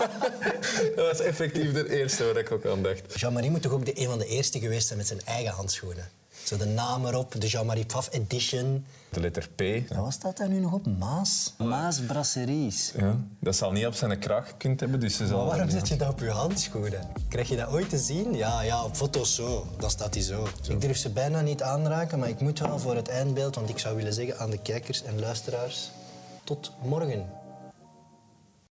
dat was effectief de eerste waar ik ook aan dacht. Jean-Marie moet toch ook de, een van de eerste geweest zijn met zijn eigen handschoenen? Zo de naam erop, de Jean-Marie Pfaff Edition. De letter P. En Wat staat daar nu nog op? Maas? Maas Brasseries. Ja, dat zal niet op zijn kraag kunt hebben, dus ze zal... Maar waarom zet je dat op je handschoenen? Krijg je dat ooit te zien? Ja, ja, op foto's zo. Dan staat die zo. Ik durf ze bijna niet aanraken, maar ik moet wel voor het eindbeeld, want ik zou willen zeggen aan de kijkers en luisteraars, tot morgen.